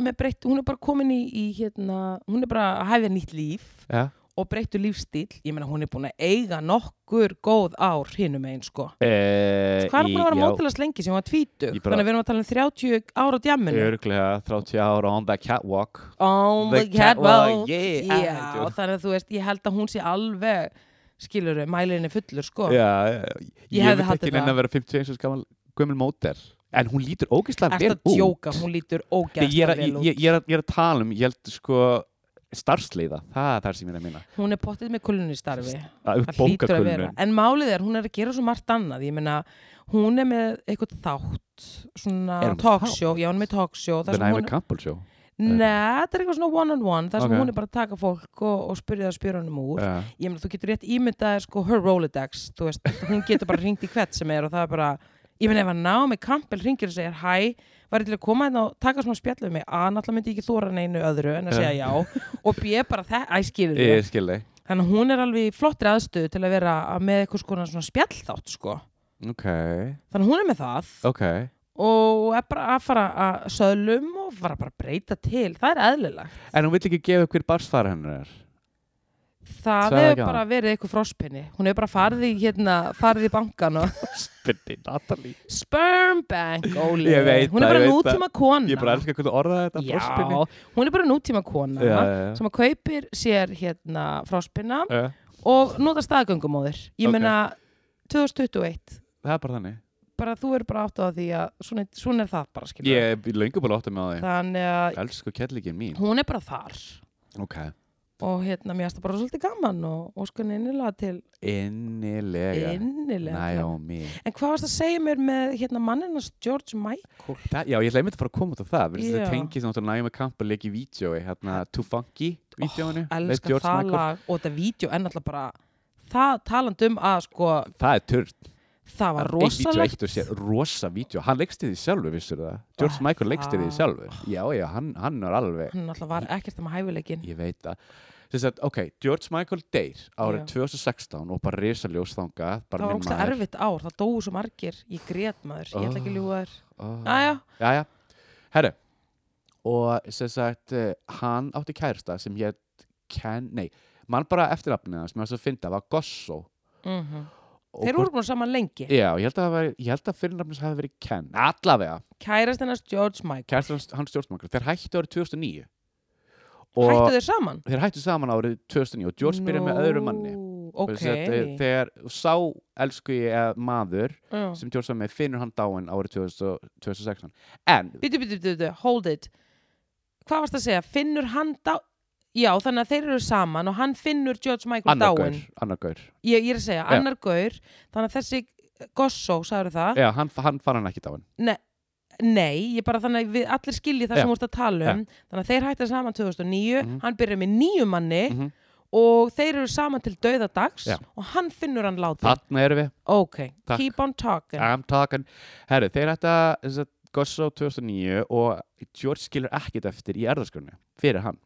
S1: með breytt, hún er bara komin í, í hérna, hún er bara að hæfja nýtt líf
S2: Já,
S1: og breyttu lífstíl, ég meina hún er búin að eiga nokkur góð ár hinum einn sko.
S2: Eh,
S1: Hvað er hún búin að vera
S2: já,
S1: mótilega lengi sem hún var tvítug?
S2: Ég bara-
S1: Þannig að við erum að tala um 30 ára á djamminu. Oh
S2: Örglega 30 ára on the catwalk
S1: On the,
S2: The catwalk,
S1: catwalk.
S2: yeah, I
S1: Já,
S2: do.
S1: þannig að þú veist, ég held að hún sé alveg, skilur þau, mælinni fullur sko.
S2: Já, ég,
S1: Ég
S2: ég
S1: hefði
S2: veit
S1: haldið
S2: ekki neina
S1: það.
S2: að vera 51 gaman gömul móter En hún lítur ógeðslega
S1: Ertu
S2: vel
S1: að
S2: út
S1: djóka, hún lítur
S2: Nei,
S1: ógæðslega
S2: ég, er að,
S1: vel
S2: ég,
S1: út.
S2: ég, er að, ég er að tala um, ég held sko starfsleiða, það er það sem ég er að minna
S1: Hún er pottið með kulunni starfi.
S2: að
S1: Það hlýtur að vera.
S2: bókakulnun
S1: En málið er, hún er að gera svo margt annað. Ég meina, hún er með eitthvað þátt, svona
S2: Er hún með
S1: talkshow. Já, hún er með talkshow. þar
S2: The
S1: sem hún
S2: Naomi
S1: er-
S2: Campbell Show
S1: Nei, þetta er eitthvað svona one on one þar sem
S2: Ok.
S1: hún er bara að taka fólk og, og spyrja það spyrunum úr
S2: Já.
S1: ég meina þú getur rétt ímyndaði sko her Rolodex þú veist, hún getur bara hringt í hvert sem er og það er bara, ég meina ef hann ná með Campbell hringir og segir hæ, var ég til að koma hérna og taka smá spjall við mig, a, náttúrulega myndi ég ekki þóra neinu öðru en að segja já og b, bara það, æ, skilur
S2: Ég
S1: við
S2: skil þig
S1: þannig að hún er alveg í flottri aðstöðu til að vera með eitthvað skona svona spjall þátt sko
S2: Ok,
S1: þannig að hún er með það
S2: ok
S1: og er bara að fara að söðlum og fara bara að breyta til það er eðlilegt
S2: En hún vill ekki gefa upp hver barsfara hennar er
S1: Það
S2: Sagði
S1: hefur
S2: ekki
S1: bara
S2: hann.
S1: verið eitthvað frospinni. Hún hefur bara farið í, hérna, farið í bankan og
S2: Spinni, Natalie
S1: sperm bank, Óli.
S2: Ég veit
S1: hún er
S2: það,
S1: bara
S2: ég veit
S1: nútíma kona.
S2: Ég bara elska hvernig þú orðaði þetta frospinni.
S1: Já, hún er bara nútíma kona
S2: Já, já, já.
S1: sem að kaupir sér hérna frospinna
S2: Já,
S1: og nota staðgöngumóður. Ég
S2: Ok.
S1: meina 2021,
S2: Það er bara þannig
S1: bara þú eru bara átt á því að svona, svona er það bara, skilja.
S2: Ég er löngu búin að átta mig á
S1: Þannig að
S2: því Elsku kettlikinn mín
S1: hún er bara þar
S2: Ok
S1: og hérna, mér finnst það bara svolítið gaman og óskan innilega til
S2: Innilega
S1: innilega. til að
S2: Naomi
S1: En hvað varst að segja mér með hérna, manninnast George Michael?
S2: Það, já, ég ætlaði einmitt að fara að koma út á það Við
S1: Já.
S2: þetta tengið náttúrulega Naomi Campbell leik í vídjói hérna Too Funky vídjóinu
S1: Elskar það lag og þetta vídeo en alltaf bara það talandi um að sko
S2: Það er törn
S1: það var
S2: Eitt
S1: rosalegt Ah,
S2: vídjó eitt og sér, rosa vídjó Hann leikst í því sjálfur, vissur það George Michael leikst í því
S1: það-
S2: sjálfur Já, já, hann, hann er alveg
S1: hann alltaf var ekkert um hæfileikin
S2: Ég veit það Þess að, ok, George Michael deyr árið
S1: Já.
S2: 2016 og bara risaljós þangað
S1: það
S2: bara
S1: var
S2: minn
S1: ógstlega
S2: maður.
S1: erfitt ár, það dóu svo margir ég grét maður, ég ætla ekki að ljúga þér
S2: Oh.
S1: aðja,
S2: Jæja, herru og sem sagt eh, hann átti kærsta sem hétt Ken, nei, mann bara eftirnafnið hans mér varst að finna, var Gosso
S1: mm
S2: Og
S1: þeir
S2: hvort-
S1: voru búin saman lengi
S2: Já, ég held að, það væri- ég held að fyrirnafnins hafi verið Ken, allavega
S1: kærast hennast George Michael
S2: kærsta hans, hans stjórnmangur, þeir hættu árið 2009 og
S1: hættu þeir saman?
S2: þeir hættu saman árið 2009 og George byrjaði með öðru manni
S1: Nú,
S2: Og sem sagt, eh,
S1: ok,
S2: þegar sá elsku ég eh, maður
S1: Já.
S2: sem George var með finnur hann dáin árið 2000 2016 en
S1: Bítu, bítu, bítu, bítu, hold it Hvað varst að segja, finnur hann dá Já, þannig að þeir eru saman og hann finnur George Michael
S2: annar
S1: dáinn
S2: gaur, annar gaur
S1: ég, ég er að segja,
S2: Já.
S1: annar gaur Þannig að þessi Gosso, sagður það
S2: Já, hann, hann fann hann ekki dáin
S1: Nei, nei, ég bara þannig að við allir skilji það
S2: Já.
S1: sem úrst að tala um Þannig að þeir hættir saman 2009
S2: Mhm.
S1: Hann byrjar með nýju manni
S2: Mhm.
S1: Og þeir eru saman til dauðadags
S2: Já.
S1: Og hann finnur hann láti
S2: Þarna erum við,
S1: Ok,
S2: Takk.
S1: keep on talking
S2: I'm talking Herru, þeir ætta þess að Gosso 2009 og George skilur ekkert eftir í erðaskrunni fyrir hann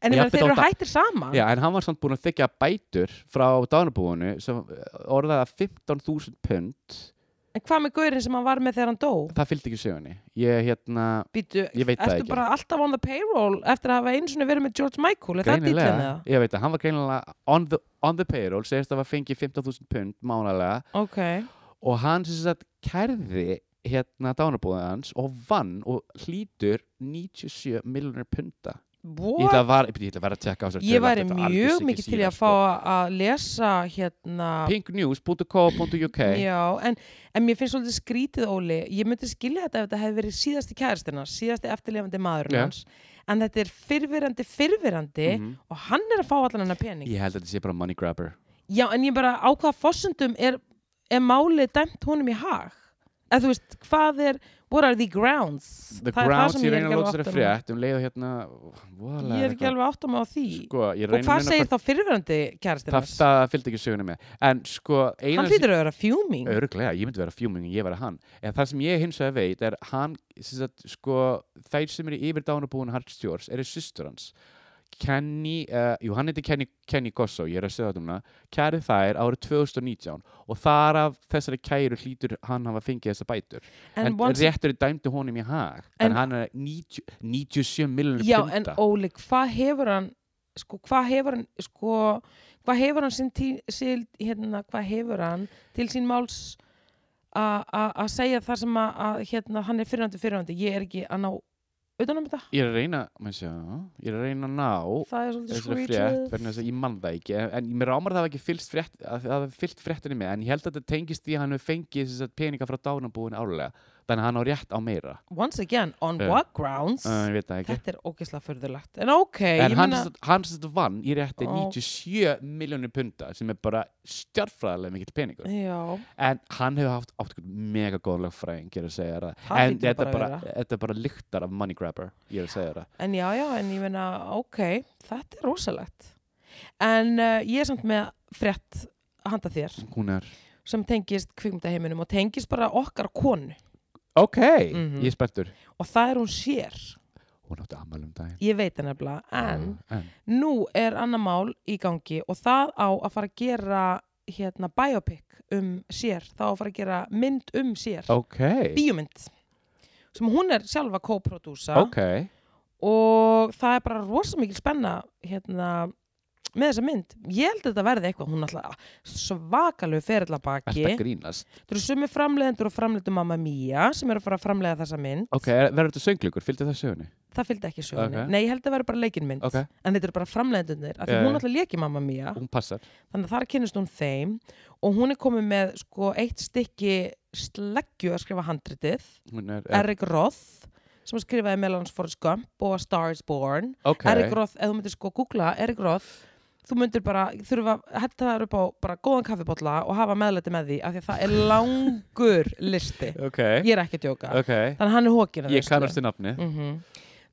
S1: En ég meina,
S2: Jafnvel
S1: þeir eru
S2: þótt að-
S1: hættir saman
S2: Já, en hann var samt búin að þykja bætur frá dánabúinu sem orðaði að 15.000 pund
S1: En hvað með gaurinn sem hann var með þegar hann dó?
S2: það fylgdi ekki sögunni Ég hérna,
S1: Býtu,
S2: Ég veit það
S1: ertu
S2: ekki.
S1: bara alltaf on the payroll eftir að hafa eins og verið með George Michael, er það dýtlinn
S2: greinilega
S1: eða?
S2: Ég veit að hann var greinilega on the, on the payroll segist að var fengið 15.000 pund mánalega
S1: Ok,
S2: og hann sem sagt kærði hérna dánabúið hans og vann og hlýtur 97 miljonar punda Ég
S1: what?
S2: ætla, að var, ég ætla að vera að tjekka á þessu
S1: Ég
S2: tölur,
S1: væri
S2: þetta er algjör
S1: mjög
S2: sikki
S1: mikið til í
S2: síðan,
S1: að fá að lesa hérna,
S2: sko. Pinknews.co.uk
S1: já, en, en mér finnst svolítið skrítið Óli, ég myndi skilja þetta ef þetta hefði verið síðasti kæristinn hans, síðasti eftirlefandi maðurinn
S2: Já.
S1: hans, en þetta er fyrverandi, fyrverandi
S2: Mhm.
S1: og hann er að fá allan hennar pening.
S2: Ég held að þetta sé bara money grabber
S1: Já, en ég bara á hvaða fossundum er, er málið dæmt honum í hag? Eða þú veist, hvað er, what are the grounds? Það
S2: The
S1: er það
S2: grounds,
S1: sem
S2: ég
S1: er
S2: reyna
S1: ekki
S2: að
S1: alveg
S2: láta
S1: átta
S2: þessari
S1: mig á.
S2: frétt um leið og hérna voðalega
S1: Ég er ekki
S2: eitthvað.
S1: alveg átt að með á því.
S2: Sko, ég
S1: og
S2: reyna
S1: hvað
S2: að
S1: segir þá fyrirverandi kærastinn
S2: Það,
S1: hans?
S2: það fylgdi ekki söguna með En sko, eina
S1: Hann hlýtur að vera fjúming.
S2: Örglega, ég myndi vera fjúming en ég vera hann En það sem ég hins vegar veit er hann, sem sagt, sko, þeir sem eru yfir dánabúin Hans Stjórs eru systur hans Kenny, uh, jú hann heitir Kenny, Kenny Gosso, ég er að segja þetta núna kærið þær árið 2019 og þar af þessari kæru hlýtur hann hafa fengið þessa bætur
S1: En,
S2: en,
S1: once,
S2: réttur er dæmdi honum í hag en,
S1: En-
S2: hann er 90, 97 miljonir
S1: já, en
S2: punta
S1: Óli, hvað hefur hann sko, hvað hefur hann sko, hvað hefur hann sín tí, síl, hérna, hvað hefur hann til sín máls a- a- að segja þar sem að, að hérna, hann er fyrrandi fyrrandi, ég er ekki að ná utan um þetta,
S2: Ég er að reyna, maður sjá, ég er að reyna að ná
S1: það er svolítið
S2: þessari
S1: skrítið
S2: frétt vegna þess að ég mann það ekki en, en mér ámar það hafi ekki fylst frétt að það hafi fyllt fréttinni með en ég held að þetta tengist því að hann hefur fengið þess að peninga frá dánabúin árlega þannig að hann á rétt á meira
S1: once again, on
S2: Já.
S1: what grounds
S2: uh, ég veit það ekki
S1: þetta er ógeðslega förðurlegt en ok,
S2: en
S1: ég
S2: hann
S1: meina
S2: sem sagt- hann sem þetta vann í rétti
S1: Ó.
S2: 97 miljónir punda sem er bara stjárfræðilega mikill peningur
S1: já,
S2: en hann hefur haft átt einhvern mega góð lögfræðing ég er að segja þér það
S1: Það
S2: en
S1: hlýtur
S2: þetta
S1: bara að
S2: bara,
S1: vera.
S2: þetta bara lyktar af money grabber ég er að segja þér það
S1: en já, já, en ég meina ok, þetta er rosalegt en uh, ég er samt með frétt handa þér
S2: hún er
S1: sem tengist kvikmyndaheiminum og tengist bara okkar konu
S2: ok
S1: Mhm.
S2: ég er spenntur
S1: og það er hún sér
S2: hún átti ammæli um daginn
S1: ég veit það nefnilega, en
S2: Já, en
S1: nú er annar mál í gangi og það á að fara að gera hérna biopic um sér þá á að fara að gera mynd um sér
S2: ok
S1: bíómynd sem hún er sjálfa co-prodúsa
S2: ok
S1: og það er bara rosa mikil spenna hérna með þessa mynd, ég held að þetta verði eitthvað hún alltaf svakalegu ferill að baki
S2: Þetta grínast
S1: þú eru sumi framleiðendur og framleiðendur Mamma Mia sem eru að fara að framleiða þessa mynd
S2: Ok, er- verður þetta sönglugur? Fylgdi það sögunni?
S1: það fylgdi ekki sögunni,
S2: Ok.
S1: nei ég held að það verði bara leikinmynd
S2: Ok.
S1: en þetta eru bara framleiðendurnir af því
S2: Já,
S1: hún
S2: já.
S1: alltaf leiki Mamma Mia
S2: Hún passar
S1: þannig að þar kynnist hún þeim og hún er komið með sko eitt stykki sleggju að skrifa handritið
S2: Hún er
S1: Eric Roth sem skrifaði meðal hans Forrest Gump og A Star is Born
S2: Ok
S1: Eric Roth, ef þú myndir sko googla Eric Roth þú myndir bara, þurfa að hetta það upp á bara góðan kaffibotla og hafa meðlæti með því af því að það er langur listi
S2: Ok
S1: ég er ekki að djóka
S2: Ok
S1: þannig að hann er hókina
S2: Ég kannast þið nafni
S1: Mhm.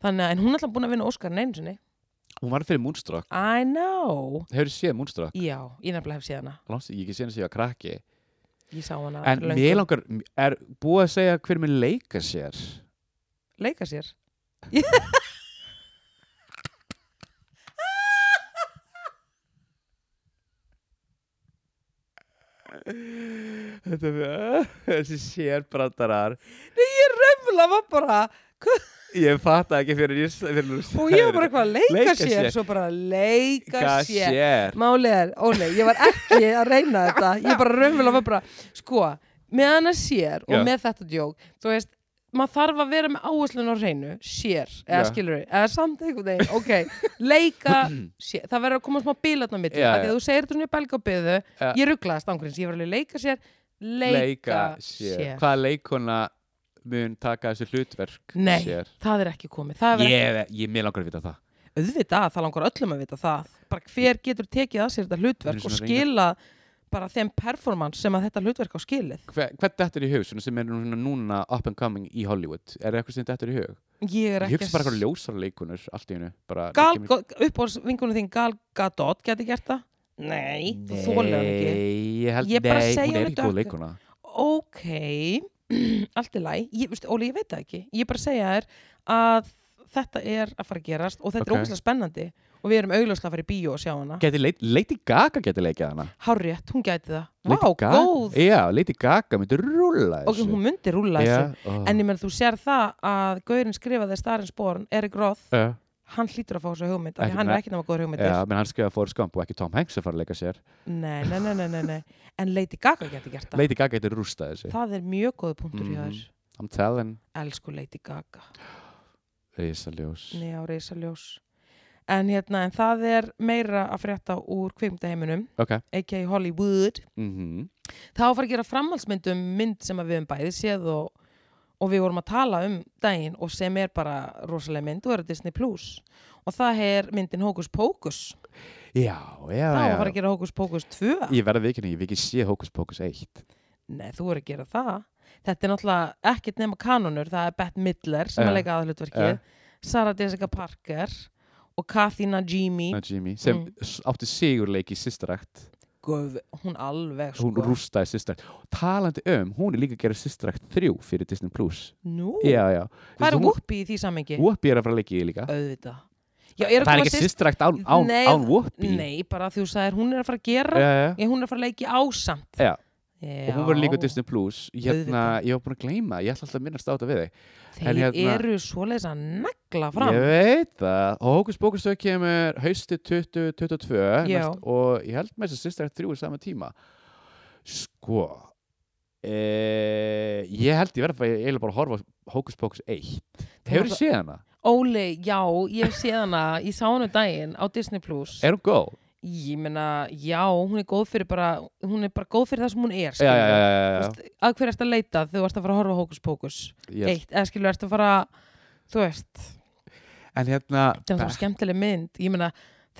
S1: þannig að en hún er alltaf búin að vinna Óskar neins
S2: Hún var fyrir Moonstruck
S1: I know
S2: Hefur þið séð Moonstruck?
S1: já, ég nefnilega hef séð hana
S2: Langs, ég ekki séð hans ég var krakki
S1: ég sá hana
S2: En
S1: fyrir löngu.
S2: mér langar Er búið að segja hver mér leika sér?
S1: leika sér
S2: Þetta er Þessi sérbratarar
S1: Nei, ég römmla var bara
S2: Ég fatt ekki fyrir ég fyrir,
S1: og ég var bara eitthvað að leika,
S2: Leika
S1: sér.
S2: sér.
S1: svo bara leika sér,
S2: sér
S1: málið er, ólega, ég var ekki að reyna þetta, ég bara römmla var bara sko, með hana sér og
S2: Já.
S1: með þetta djók, þú veist maður þarf að vera með áherslun á hreinu sér, eða
S2: Já.
S1: skilur eða samt einhvern veginn, ok leika, sér, það verður að koma smá bílarn á milli,
S2: Já,
S1: af því
S2: já.
S1: að þú segir þetta svona í belgabiðu,
S2: Já.
S1: ég rugglaðast ángríns ég var alveg leika sér, leika,
S2: leika sér.
S1: sér.
S2: Hvaða leikona mun taka þessu hlutverk
S1: Nei,
S2: sér?
S1: það er ekki komið það er
S2: Ég, ég mér langar að vita það.
S1: auðvitað, það langar öllum að vita það bara hver getur tekið að sér þetta
S2: Við
S1: hlutverk
S2: erum
S1: og
S2: svona
S1: skila bara þeim performance sem að þetta hlutverk á skilið
S2: Hver, hvert dettur í hug svona sem er nú- svona núna up and coming í Hollywood? Er það eitthvað sem dettur í hug?
S1: ég er
S2: Ég
S1: ekki
S2: hugsa bara eitthvað ljósara leikunur allt í hennu.
S1: gal, uppbóðs vingunum þín Gal Gadot geti gert það? Nei, þú þólir hann ekki
S2: Nei, ég held,
S1: Ég bara
S2: nei,
S1: segi
S2: hún er
S1: henni
S2: ekki góð
S1: dökk.
S2: leikuna.
S1: ok, allt í læg ég, veistu, Óli, ég veit það ekki, ég er bara að segja þér að þetta er að fara að gerast og þetta
S2: Ok.
S1: er ógeðslega spennandi og við erum augljóslega að fara í bíó og sjá hana
S2: Geti leit, Lady Gaga geti leikið hana.
S1: Hárrétt, hún gæti það, vá,
S2: Lady Gaga-
S1: góð
S2: Já, Lady Gaga myndi rúla
S1: ok, hún myndi rúla þessu
S2: Já, ó.
S1: En ég menn þú sér það að Gaurin skrifaði starins born, Erik Roth
S2: Já,
S1: hann hlýtur að fá þessu hugmynd, af
S2: Ekki
S1: því hann er
S2: með-
S1: ekki náma góður hugmyndir
S2: já, menn hann skrifaði Forrest Gump og ekki Tom Hanks að fara að leika sér.
S1: nei, nei, nei, nei, nei, nei en Lady Gaga getur gert það
S2: Lady Gaga geti rústað þessu.
S1: það er mjög góð punktur hjá
S2: Mhm.
S1: þér
S2: I'm telling.
S1: elsku Lady Gaga,
S2: Rísaljós.
S1: neða á reysaljós en hérna, en það er meira að frétta úr kvikmyndaheiminum
S2: Ok.
S1: a.k.a. Hollywood
S2: Mm
S1: þá að fara að gera framhaldsmyndum mynd sem að við um bæði séð og, og við vorum að tala um daginn og sem er bara rosalega mynd og er á Disney Plus og það er myndin Hókus Pókus
S2: Já, já,
S1: þá
S2: já.
S1: var að gera Hókus Pókus 2
S2: Ég verða vikinu, ég hef ekki séð Hókus Pókus 1.
S1: Nei, þú er að gera það Þetta er náttúrulega ekkert nema kanonur það er Bette Midler sem
S2: Ja.
S1: er leika aðhlutverkið
S2: Ja.
S1: Sarah Jessica Parker og Kathy Najimy
S2: Na Jimmy, sem
S1: Mm.
S2: mm. átti sigurleik í sýstarækt.
S1: Guð, hún alveg sko
S2: Hún rústaði sýstarækt. Talandi um, hún er líka að gera sýstarækt 3 fyrir Disney+. Plus.
S1: Nú,
S2: Já, já.
S1: hvað er
S2: Þessi
S1: Whoopi í því samengi?
S2: Whoopi er að fara að leika í líka.
S1: Auðvitað Já, er að
S2: Það er
S1: koma
S2: ekki
S1: syst-
S2: sýstarækt án, án,
S1: Nei,
S2: án Whoopi.
S1: Nei, bara því þú sagðir hún er að fara að gera
S2: Já, já.
S1: Ég, hún er að fara að leiki ásamt
S2: Já.
S1: Já,
S2: Og hún var líka á Disney Plus, hérna,
S1: Auðvitað.
S2: ég var búin að gleyma, ég ætla alltaf að minnast á þetta við þig.
S1: Þeir
S2: en hérna-
S1: eru svoleiðis að negla negla fram
S2: Ég veit það og Hókus Pókustöð kemur hausti 2022
S1: Já.
S2: næst- og ég held með þess að sýstir þrjú í sama tíma Sko e, Ég held ég verð að eiginlega bara að horfa á Hókus Pókus 1 Hefur þið séð hana?
S1: Óli, já, ég sé hana ég sá hana um daginn á Disney Plus
S2: Er hún góð?
S1: ég meina, já, hún er góð fyrir bara hún er bara góð fyrir það sem hún er
S2: Já, já,
S1: skilurðu.
S2: já, já, já.
S1: Þú veist, að hverju ertu að leita þegar þú ert að fara að horfa á hókus pókus
S2: Yes.
S1: eitt, eða skilur ertu að fara þú veist,
S2: En hérna
S1: það er skemmtileg mynd ég meina,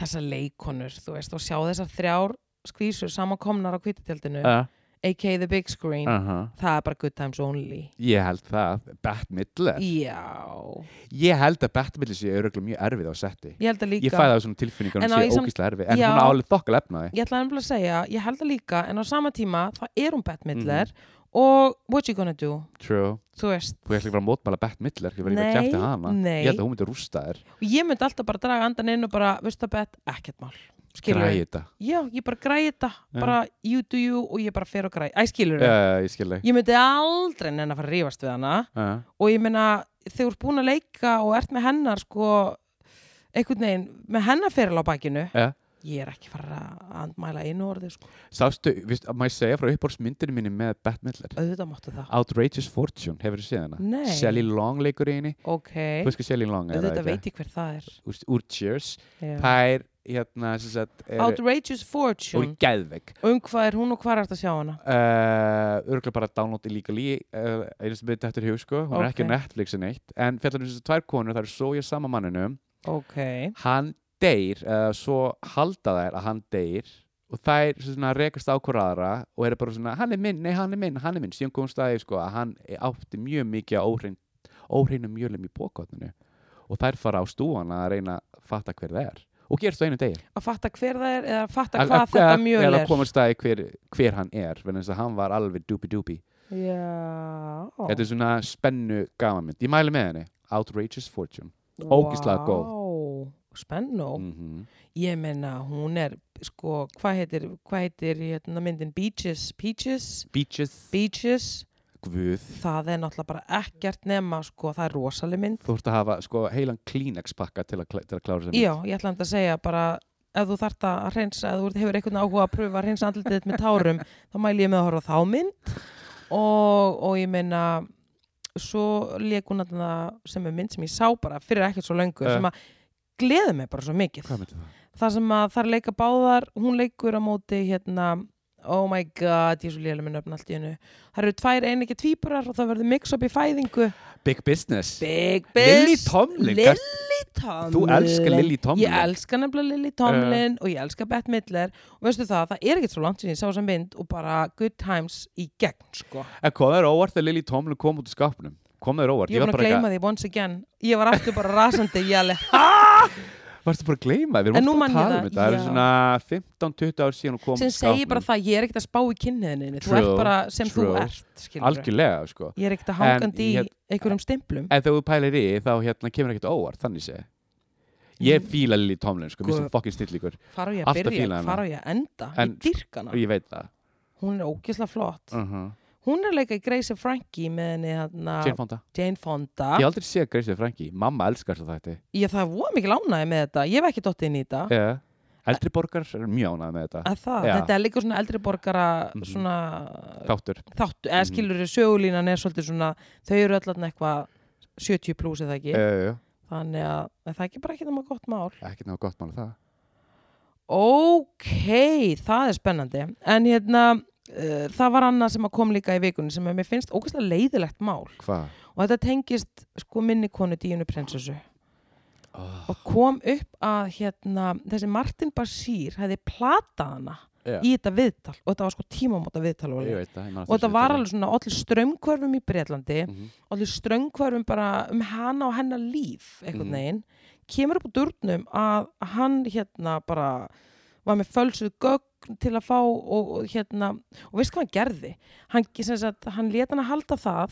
S1: þessar leikonur þú veist, og sjá þessar þrjár skvísur samankomnar á kvítitjaldinu
S2: uh,
S1: a.k.a. the big screen,
S2: uh -huh.
S1: það er bara good times only
S2: Ég held það, Bett Midler
S1: já,
S2: Ég held að Bett Midler sé öruglega mjög erfið á setti
S1: ég held að líka
S2: Ég fæði það svona tilfinningar
S1: En
S2: hún
S1: á
S2: sé
S1: ég samt-
S2: ógislega erfið en
S1: Já.
S2: hún er álið þokkal efnaði
S1: ég ætlaði nefnilega að segja, ég held að líka en á sama tíma, þá er hún Bette
S2: Mhm.
S1: Midler og what you gonna do
S2: True
S1: þú veist,
S2: Þú ætla ekki bara að mótmæla Bett Midler, ég verði ekki
S1: Nei,
S2: að kæfti hana.
S1: nei.
S2: Ég held að hún myndi rústa þér.
S1: og ég myndi alltaf bara draga andan inn og bara, veist það Bette, ekkert mál skilur
S2: Græði þetta.
S1: já, ég bara græði þetta bara you do you og ég bara fer og græði, æ skilur
S2: Já, já, ég skil þig.
S1: ég myndi aldrei nenn að fara að rífast við hana
S2: Já.
S1: og ég meina, þegar þú ert búin að leika og ert með hennar sko einhvern veginn, með hennar feril á bakinu
S2: Já.
S1: ég er ekki fara að andmæla einu orði sko,
S2: Sástu, viðst, má ég segja frá uppbórsmyndinu minni með Bett Midler?
S1: auðvitað máttu það
S2: Outrageous Fortune, hefur þú séð hana?
S1: Nei.
S2: Shelly Long leikur í henni.
S1: ok,
S2: Þú veist hvað Shelly Long er,
S1: auðvitað veit ég hver það er
S2: Úr, úr Cheers.
S1: Já.
S2: Pær, hérna, sem sagt, er,
S1: Outrageous
S2: úr
S1: Fortune
S2: Geðveg.
S1: um hvað er hún og hvað er þetta að sjá hana
S2: Uh, örgulega bara download illegally uh, einu sem byrði þetta hug sko hún er ekki
S1: Ok.
S2: á Netflix en eitt en fjallar um þessi tvær konur það eru svo ég sama manninum
S1: ok,
S2: hann deyr eða svo halda þær að hann deyr og þær svona rekast á hver aðra og eru bara svona, hann er minn, nei hann er minn, hann er minn síðan komum staði sko að hann átti mjög mikið á óhrein, óhreinum mjölum í bókotninu og þær fara á stúan að reyna að fatta hver það er og gerst á einu degir
S1: að fatta hver það er eða að fatta
S2: Að-
S1: hvað
S2: að-
S1: þetta
S2: að-
S1: mjöl
S2: eða
S1: er
S2: komast að hver, hver hann er vegna þess að hann var alveg dúbi-dúbi
S1: já
S2: þetta er svona spennu gamanmynd, ég mæli með henni Outrageous Fortune ógeðslega góð.
S1: Vá, spennó
S2: mm -hmm.
S1: Ég meina, hún er, sko, hvað heitir, hvað heitir hérna myndin Beaches, Peaches,
S2: Beaches,
S1: Beaches,
S2: Guð
S1: það er náttúrulega bara ekkert nema, sko, það er rosaleg mynd.
S2: Þú ert að hafa sko, heilan Kleenex pakka til að, kla- til að klára þessa mynd.
S1: Já, ég ætla að segja bara, ef þú þart að hreinsa, ef þú ert- hefur einhvern áhuga að pröfa að hreinsa andlitið þitt með tárum, þá mæli ég með að horfa á þá mynd og, og ég meina, svo leik hún að það sem er mynd sem ég sá bara fyrir ekkert svo löngu,
S2: Eh.
S1: sem að gleði mig bara svo mikið.
S2: Hvað myndi það?
S1: þar sem að þar leika báðar hún leikur á móti hérna oh my god, ég er svo lélega með nöfn allt í hennu það eru tvær einegja tvíburar og það verður mix-up í fæðingu
S2: Big Business.
S1: Big
S2: Lily
S1: Biz,
S2: Tomlin, gert-
S1: Lily Tomlin
S2: Þú elskar Lily Tomlin. Eh.
S1: ég elska nefnilega Lily Tomlin og ég elska Bette Midler og veistu það, það er ekkert svo langt sem ég sá sem mynd og bara good times í gegn sko.
S2: En kom þér óvart að Lily Tomlin kom út í skapnum? Kom þér óvart?
S1: ég var að gleyma því once again ég var aftur bara rasandi ég alveg, ha?
S2: því. Varstu bara að gleyma
S1: En
S2: því? Við
S1: nú
S2: vorum
S1: man
S2: alltaf
S1: ég það,
S2: að tala um þetta. Það eru
S1: já.
S2: svona 15-20 ár síðan hún kom
S1: sem
S2: út í
S1: segi bara
S2: skápnum.
S1: það, ég er ekkert að spá í kynniðinni þú
S2: True,
S1: ert bara sem þú
S2: true.
S1: ert skilurðu.
S2: Algjörlega, sko.
S1: Ég er ekkert að
S2: En
S1: hangandi
S2: ég-
S1: í einhverjum stimplum.
S2: En þegar þú pælir í þá hérna kemur ekkert óvart, þannig sé. Ég
S1: Mm.
S2: fíla Lily Tomlin, sko. Mér
S1: Guð.
S2: sem fokkin stillíkur.
S1: Fara á ég að
S2: alltaf fílað
S1: byrja,
S2: hana.
S1: fara á ég að enda,
S2: hérna. En-
S1: ég dyrk hana.
S2: Og ég veit það.
S1: Hún er ógislega flott.
S2: Uh -huh.
S1: Hún er að leika í Grace and Frankie með henni þarna
S2: Jane Fonda.
S1: Jane Fonda.
S2: Ég hef aldrei séð Grace og Frankie. Mamma elskar svo þetta.
S1: Ég það er voða mikið lánaði með þetta. Ég hef ekki dottið inn í þetta.
S2: Yeah. Eldri borgar er mjög ánað með þetta.
S1: Að það,
S2: Já.
S1: þetta er líka svona eldri borgara
S2: Mhm.
S1: svona
S2: Þáttur.
S1: þáttu, eða
S2: Mhm.
S1: skilur sögulínan er svolítið svona, þau eru öll eitthvað 70 pluss eða ekki.
S2: Uh,
S1: Þannig að en það er ekki bara ekki það gott mál.
S2: ekki ná gott mála það.
S1: Ok, það er spennandi en hérna uh, það var annað sem að kom líka í vikunni sem að mér finnst ógeðslega leiðilegt mál
S2: Hvað?
S1: og þetta tengist sko minni konu Díunu prinsessu
S2: Oh.
S1: og kom upp að hérna þessi Martin Basír hefði platað hana
S2: Já.
S1: í þetta viðtal og þetta var sko tímamóta viðtal Óli.
S2: Ég veit það, ég man
S1: og þetta var alveg svona allir strömmkvörfum í Breitlandi
S2: mm -hmm.
S1: allir ströngkvarfum bara um hana og hennar líf einhvern
S2: Mhm.
S1: veginn, kemur upp úr durnum að hann hérna bara var með fölsuð gögn til að fá og, og hérna og veist hvað hann gerði hann, sem sagt, hann let hann að halda það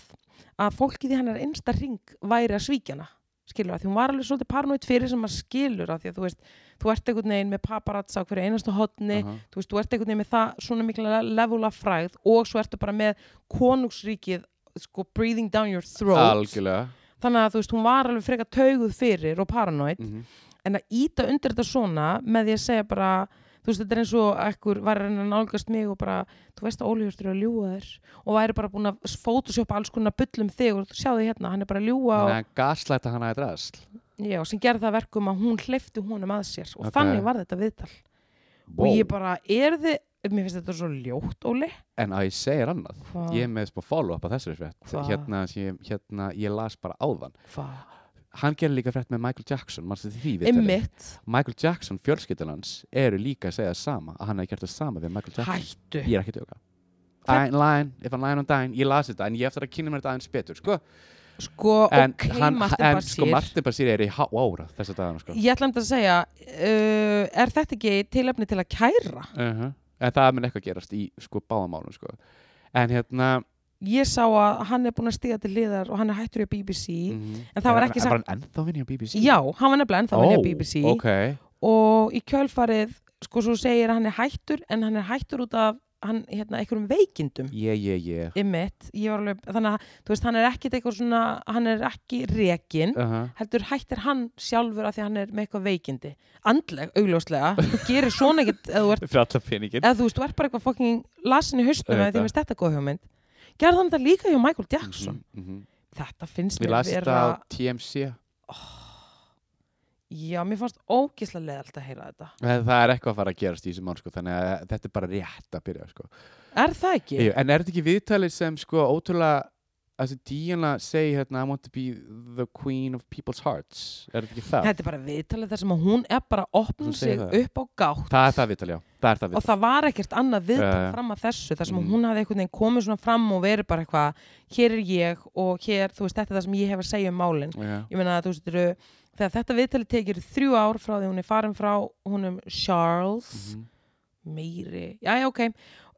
S1: að fólkið í hennar einsta ring væri að svíkja hana skilur að því hún var alveg svolítið paranoid fyrir sem maður skilur að því að þú veist, þú ert einhvern veginn með paparazza á hverju einastu hotni þú veist, þú ert einhvern veginn með það svona mikla level af fræð og svo ertu bara með konungsríkið sko breathing down your throat
S2: Algjörlega
S1: þannig að þú veist, hún var alveg frekar tauguð fyrir og paranoid
S2: Mhm.
S1: en að íta undir þetta svona með því að segja bara þú veist, þetta er eins og ekkur var að reyna að nálgast mig og bara, þú veist að Óli Hjörtur er að ljúga þér og væri bara búin að photoshoppa alls konar bullum þig og sjáðu hérna, hann er bara að ljúga og,
S2: Þannig að gaslæta hana í drasl
S1: já, sem gerði það verkum að hún hleyfti honum að sér og
S2: Ok.
S1: þannig var þetta viðtal
S2: wow.
S1: og ég bara, er þið, mér finnst þetta svo ljótt Óli
S2: En að ég segir annað
S1: Hva?
S2: Ég er með smá follow-up að þessari frétt
S1: Hvað?
S2: hérna, sem ég- hérna, ég las bara áðan
S1: Hva?
S2: Hann gerir líka frétt með Michael Jackson Manstu því við
S1: Einmitt,
S2: Michael Jackson, fjölskyldan hans eru líka að segja það sama að hann hefði gert það sama við Michael Jackson
S1: hættu
S2: Ég er ekki að tjóka
S1: Hvern-
S2: I'm lying, if I'm lying I'm dying Ég las þetta en ég eftir að kynna mér þetta aðeins betur sko.
S1: sko,
S2: en,
S1: ok,
S2: hann,
S1: Martin
S2: en sko
S1: Basir.
S2: Martin Basir er í háára þess að dagana sko.
S1: ég ætla um þetta að segja uh, er þetta ekki tilefni til að kæra
S2: uh En það mun eitthvað gerast í sko, báðamálum sko. En hérna
S1: ég sá að hann er búin að stiga til hliðar og hann er hættur í BBC
S2: mhm.
S1: En það var
S2: Er-
S1: ekki
S2: er-
S1: sagt-
S2: Var hann ennþá vinni á BBC?
S1: já, hann var nefnilega ennþá oh,
S2: Ó,
S1: í BBC
S2: ok.
S1: og í kjölfarið sko svo segir að hann er hættur en hann er hættur út af hann, hérna, einhverjum veikindum
S2: Ég, ég, ég
S1: ymmit, ég var alveg, þannig að þú veist hann er ekkit eitthvað svona, hann er ekki rekin
S2: uh
S1: heldur hættir hann sjálfur af því að hann er með eitthvað veikindi andleg, augljóslega, þú gerir svona ekkit eða þú ert
S2: Fyrir alla peningin
S1: eða þú veist, þú ert bara eitthvað fucking lasin í haustum eða því
S2: Auðvitað.
S1: minnst þetta góð hugmynd gerði hann þetta líka hjá Michael Jackson þetta finnst
S2: Ég
S1: mér
S2: las
S1: vera
S2: Mhm.
S1: Oh.
S2: þetta á TMC
S1: já, mér fannst ógislega leðalt að heyra þetta
S2: En Það er eitthvað að fara að gerast í þessu mál sko, Þannig að þetta er bara rétt að byrja sko.
S1: er það ekki?
S2: Jú, En er þetta ekki viðtalið sem sko, ótrúlega Þessi Diana segi hérna I want to be the queen of people's hearts Er þetta ekki það?
S1: þetta er bara viðtalið þar sem að hún er bara að opna
S2: Hún
S1: sig
S2: segir það.
S1: upp á gátt
S2: Það er það viðtalið, já Það er það
S1: og
S2: viðtalið
S1: það var ekkert annað viðtal
S2: Já, já.
S1: fram að þessu þar sem
S2: Mm.
S1: hún hafði einhvern veginn komið svona fram og verið bara eitthvað hér er ég og hér, þú veist, þetta er það sem ég hef að segja um málin
S2: Já,
S1: ég meina að þú veist, eru, þegar þetta viðtalið tekir þrjú ár frá því hún er farin frá húnum Charles
S2: Mhm.
S1: meiri, já já ok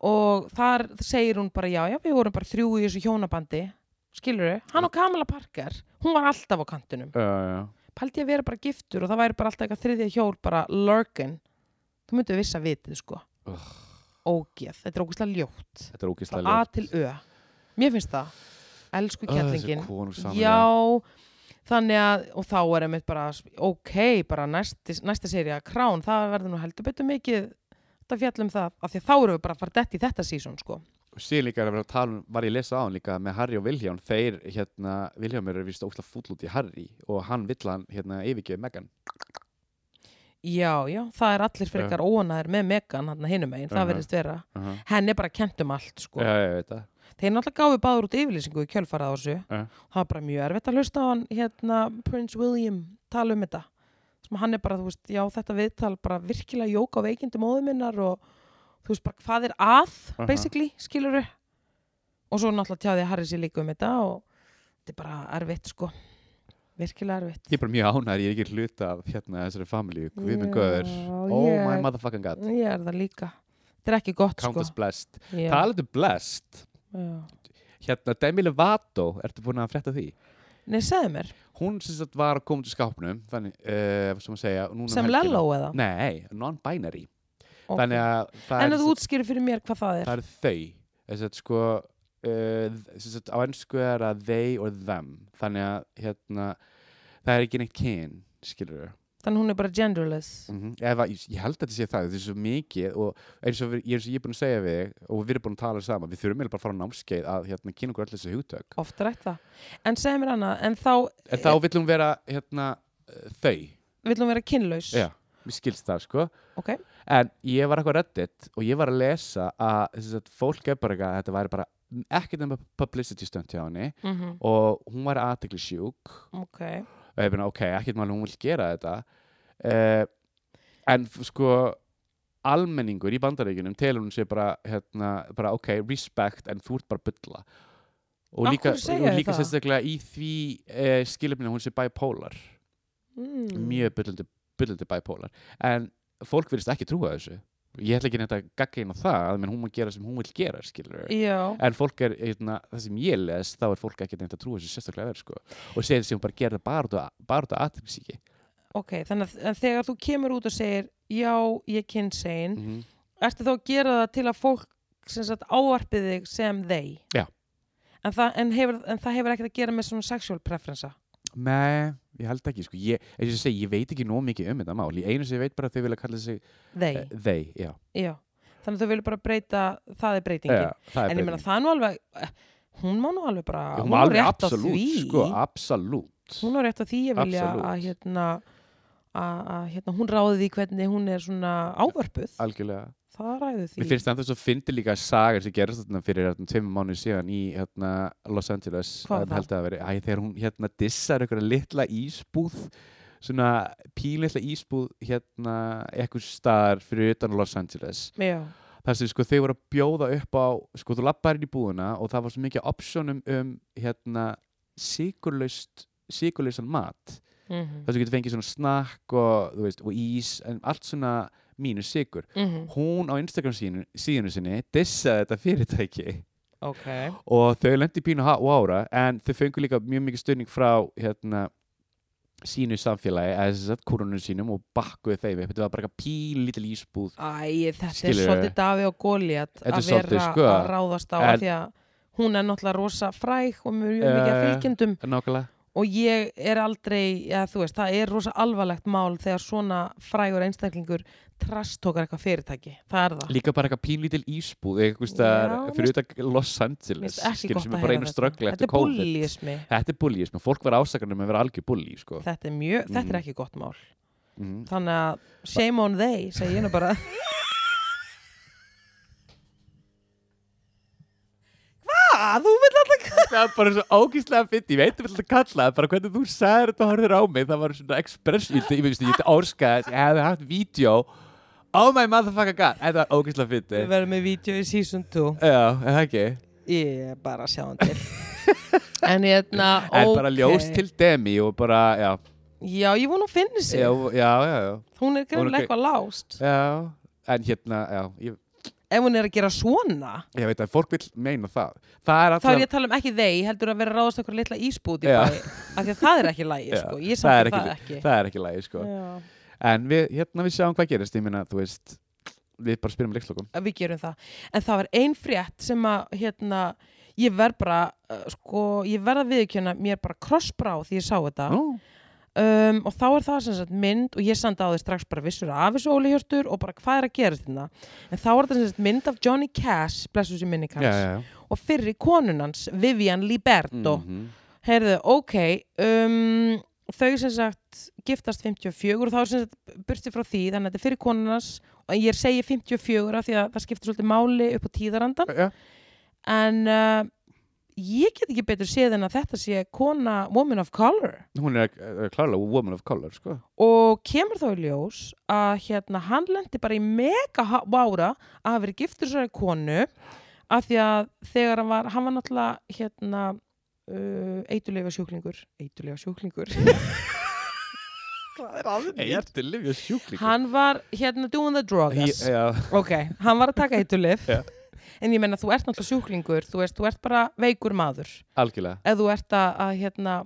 S1: og þar segir hún bara já já við vorum bara þrjú í þessu hjónabandi skilur þau, hann og Kamala Parker hún var alltaf á kantinum
S2: Já, já,
S1: paldi ég að vera bara giftur og það væri bara alltaf eitthvað þriðja hjól bara lurkin þú myndu viss að vitið sko
S2: Ugh.
S1: ógeð, þetta er ógeðslega ljótt
S2: þetta er
S1: frá
S2: ógislega
S1: A til Ö mér finnst það, elsku kettlingin
S2: Já
S1: Já, þannig að, og þá er einmitt bara, ok, bara næsti, næsta serið að krán, það verður nú heldur betur mikið að fjalla um það, af því að þá erum við bara að fara dætt í þetta sísón, sko.
S2: og síðan líka er að vera að tala um, var ég að lesa á hann líka með Harry og Vilhján, þeir hérna Vilhján er vist ósla fúll út í Harry og hann vill hann hérna yfirgefið Megan
S1: Já, já, það er allir frekar óanæður með Megan, hann hinum megin, það
S2: Mhm.
S1: verðist vera.
S2: uh -huh.
S1: Henni er bara kent um allt, sko.
S2: já, ég veit það
S1: Þeir náttúrulega gáfi báður út yfirlýsingu í kjölfarað á þessu.
S2: Já.
S1: Það er bara mjög erfitt að hlusta á hann, hérna, Prince William, tala um þetta. sem hann er bara, þú veist, já, þetta viðtal bara virkilega jók á veikindi móðu minnar og þú veist bara hvað er að
S2: Aha.
S1: basically, skiluru og svo náttúrulega tjáði Harry sér líka um þetta og þetta er bara erfitt, sko virkilega erfitt
S2: ég er bara mjög ánæður, ég er ekki hluta af hérna þessari familíu, við minn
S1: Já,
S2: góður oh
S1: ég-
S2: my motherfucking god,
S1: Ég er það líka, þetta er ekki gott,
S2: count us blessed
S1: sko Já,
S2: talaðu blessed,
S1: já.
S2: hérna Demi Lovato ertu búin að frétta því?
S1: Nei, segðu mér,
S2: hún sem sagt var að koma til skápnum þannig, uh, sem að segja núna um
S1: sem
S2: helgina.
S1: Lello eða
S2: Nei, non-binary
S1: Ok.
S2: Þannig að það
S1: En
S2: er
S1: að þú útskýri fyrir mér hvað það er
S2: það eru þau þess að sko uh, þess að á ennsku er að they or them þannig að hérna það er ekki neitt kyn skilur við
S1: Þannig hún er bara genderless
S2: mm ég, ég held að þetta sé það, þetta er svo mikið og eins og við, ég, eins og ég er búin að segja við þig og við erum búin að tala saman, við þurfum eiginlega bara að fara á námskeið að hérna, kynna okkur öll þessi hugtök
S1: Oft rætt það En segðu mér annað, en þá
S2: en
S1: Eh.
S2: þá vill hún vera hérna uh, þau,
S1: vill hún vera kynlaus
S2: já, mér skilst það sko
S1: Ok,
S2: En ég var eitthvað reddit og ég var að lesa að, sem sagt, fólk er bara eitthvað að þetta væri bara ekkert nema publicity stönd hjá henni
S1: mm
S2: og hún var aðtekli sjúk
S1: ok
S2: og ég beina, ok, ekkert mál hún vil gera þetta uh, en f- sko almenningur í bandaríkunum telur hún sér bara, hérna, bara ok, respect en þú ert bara að bulla og
S1: Af
S2: líka,
S1: hverju segja
S2: og
S1: þau
S2: líka
S1: það?
S2: sérstaklega í því uh, skilumni hún sé bipolar
S1: mm.
S2: mjög byllandi, byllandi bipolar en fólk virðist ekki trúa þessu ég ætla ekki neitt að gaggrína það að menn hún má gera sem hún vil gera skilur
S1: Já,
S2: en fólk er, eitna, það sem ég les þá er fólk ekki neitt að trúa þessu sérstaklega verð sko. og segir þessi hún bara gera það bara út af- bara út af aðtryggsíki
S1: ok, þannig að en þegar þú kemur út og segir já, ég er kynsegin
S2: mm -hmm.
S1: ertu þá að gera það til að fólk sem sagt ávarpið þig sem þeir
S2: Já.
S1: en það, en, hefur, en það hefur ekkert að gera með svona sexual preferensa
S2: Nei, ég held ekki, sko, ég, eins og ég segi, ég veit ekki nóg mikið um þetta mál, ég einu sem ég veit bara að þau vilja kalla sig
S1: Þeir,
S2: eh, þeir, já,
S1: já. Þannig að þú vilja bara breyta, það er breytingin.
S2: já, það
S1: en
S2: er
S1: ég meina það er nú alveg, eh, hún má nú alveg bara, hún,
S2: Já, hún
S1: má
S2: var alveg
S1: rétt á
S2: absolutt,
S1: því.
S2: sko, absolutt.
S1: hún á rétt á því að vilja
S2: Absolutt.
S1: að hérna, að, að hérna, hún ráði því hvernig hún er svona ávörpuð.
S2: Algjörlega.
S1: það ræði því.
S2: Mér finnst það þess að fyndi líka sagar sem gerast þarna fyrir hérna, tveimur mánu síðan í hérna, Los Angeles.
S1: Hvað var
S2: Ég held að það veri, æ, þegar hún hérna dissar einhverja litla ísbúð, svona pílitla ísbúð hérna ekkur staðar fyrir utan Los Angeles.
S1: Já,
S2: þar sem sko þau voru að bjóða upp á sko þú lappar inn í búðuna og það var svo mikið optionum um hérna sigurlaust sigurlausan mat
S1: mm
S2: þar sem þú getur fengið svona snakk og, þú veist, og ís en allt svona mínus sigur
S1: mhm,
S2: hún á Instagram sínu, síðinu sinni dissaði þetta fyrirtæki
S1: ok.
S2: og þau lendi pínu há og ára en þau fengur líka mjög mikið stöðning frá hérna sínu samfélagi eða þess að kúrunum sínum og bakkuðu þeim upp þetta var bara eitthvað pílítil ísbúð
S1: Æ, þetta
S2: Skilurðu?
S1: er svolítið Davi og Góliat
S2: Þetta er
S1: að
S2: svolítið,
S1: vera
S2: sko.
S1: að ráðast á
S2: En-
S1: en, því að hún er náttúrulega rosa fræg og mjög mikið að
S2: Eh.
S1: fylgjendum
S2: nákvæmlega
S1: og ég er aldrei, já, þú veist, það er rosa alvarlegt mál þegar svona frægur einstaklingur trastókar eitthvað fyrirtæki, það er það.
S2: líka bara eitthvað pínlítil ísbúð eitthvað staðar
S1: Já,
S2: fyrir utan Los
S1: Mér
S2: Angeles
S1: finnst ekki
S2: skilur,
S1: gott
S2: sem
S1: að
S2: er bara
S1: heyra
S2: einu
S1: þetta.
S2: ströggli
S1: Þetta
S2: eftir
S1: er
S2: COVID
S1: búlíismi.
S2: þetta er búlíism og fólk var ásakarnum að vera algjör búlí sko.
S1: Þetta er mjög, þetta er
S2: Mhm.
S1: ekki gott mál.
S2: mm.
S1: Þannig að shame on they, segi ég nú bara. Hvað? Þú vill alltaf...
S2: það er bara svo ógíslega fyndi ég veit um alltaf að kalla það, bara hvernig þú sagðir þetta og horfir á mig, það var svona express ég ég veist, ég þetta árskaði, ég hefði haft vídeo oh my motherfucker god þetta var ógíslega fyndi
S1: Við verðum með vídeo í season 2.
S2: já, er það ekki
S1: Ég er bara að sjá hann til. en hérna, ok.
S2: en bara ljós til demi og bara, já,
S1: Já, ég vona hún finni sig.
S2: já, já, já, já.
S1: Hún er
S2: Hún er
S1: greinlega
S2: ekki-
S1: eitthvað lást.
S2: já. en hérna, já, ég,
S1: Ef hún er að gera svona,
S2: ég veit að fólk vil meina það það er
S1: þá er
S2: alltaf
S1: ég að tala um ekki þeir, heldur að vera að ráðast eitthvað litla ísbúti
S2: Já.
S1: bæ. Af því að það er ekki lægi,
S2: Já,
S1: sko. Ég
S2: það er
S1: samt það ekki.
S2: það er ekki lægi sko
S1: Já.
S2: en við, hérna við sjáum hvað gerist ég minna, þú veist við bara spyrum leikslokum
S1: að við gerum það en það var ein frétt sem að hérna, ég verð bara uh, sko, ég verð að viðkjöna mér bara krossbrá því ég sá þetta
S2: Nú,
S1: um, og þá er það sem sagt mynd og ég sendi á því strax bara vissur af þessu Óli Hjörtur og bara hvað er að gerast þetta en þá var það sem sagt mynd af Johnny Cash blessu sér minni
S2: já, já,
S1: Cash
S2: já.
S1: og fyrri konunans Vivian Liberto
S2: Mhm.
S1: heyrðu, ok um, þau sem sagt giftast 54 og þá er sem sagt burti frá því þannig að þetta er fyrir konunans og ég segi 54 af því að það skiptir svolítið máli upp á tíðarandan
S2: já.
S1: en uh, ég get ekki betur séð en að þetta sé kona woman of color
S2: hún er uh, klárlega woman of color sko.
S1: og kemur þá í ljós að hérna hann lendi bara í mega ha- vára að hafa verið giftur sér konu af því að þegar hann var, hann var náttúrulega hérna uh, eitulega sjúklingur eitulega sjúklingur hvað er að
S2: eitthvað lifja sjúkling
S1: hann var hérna doing the drugs
S2: já,
S1: ok, hann var að taka eitulif
S2: Já.
S1: en ég meina þú ert náttúrulega sjúklingur þú veist, þú ert bara veikur maður
S2: algjörlega
S1: ef þú ert að, að hérna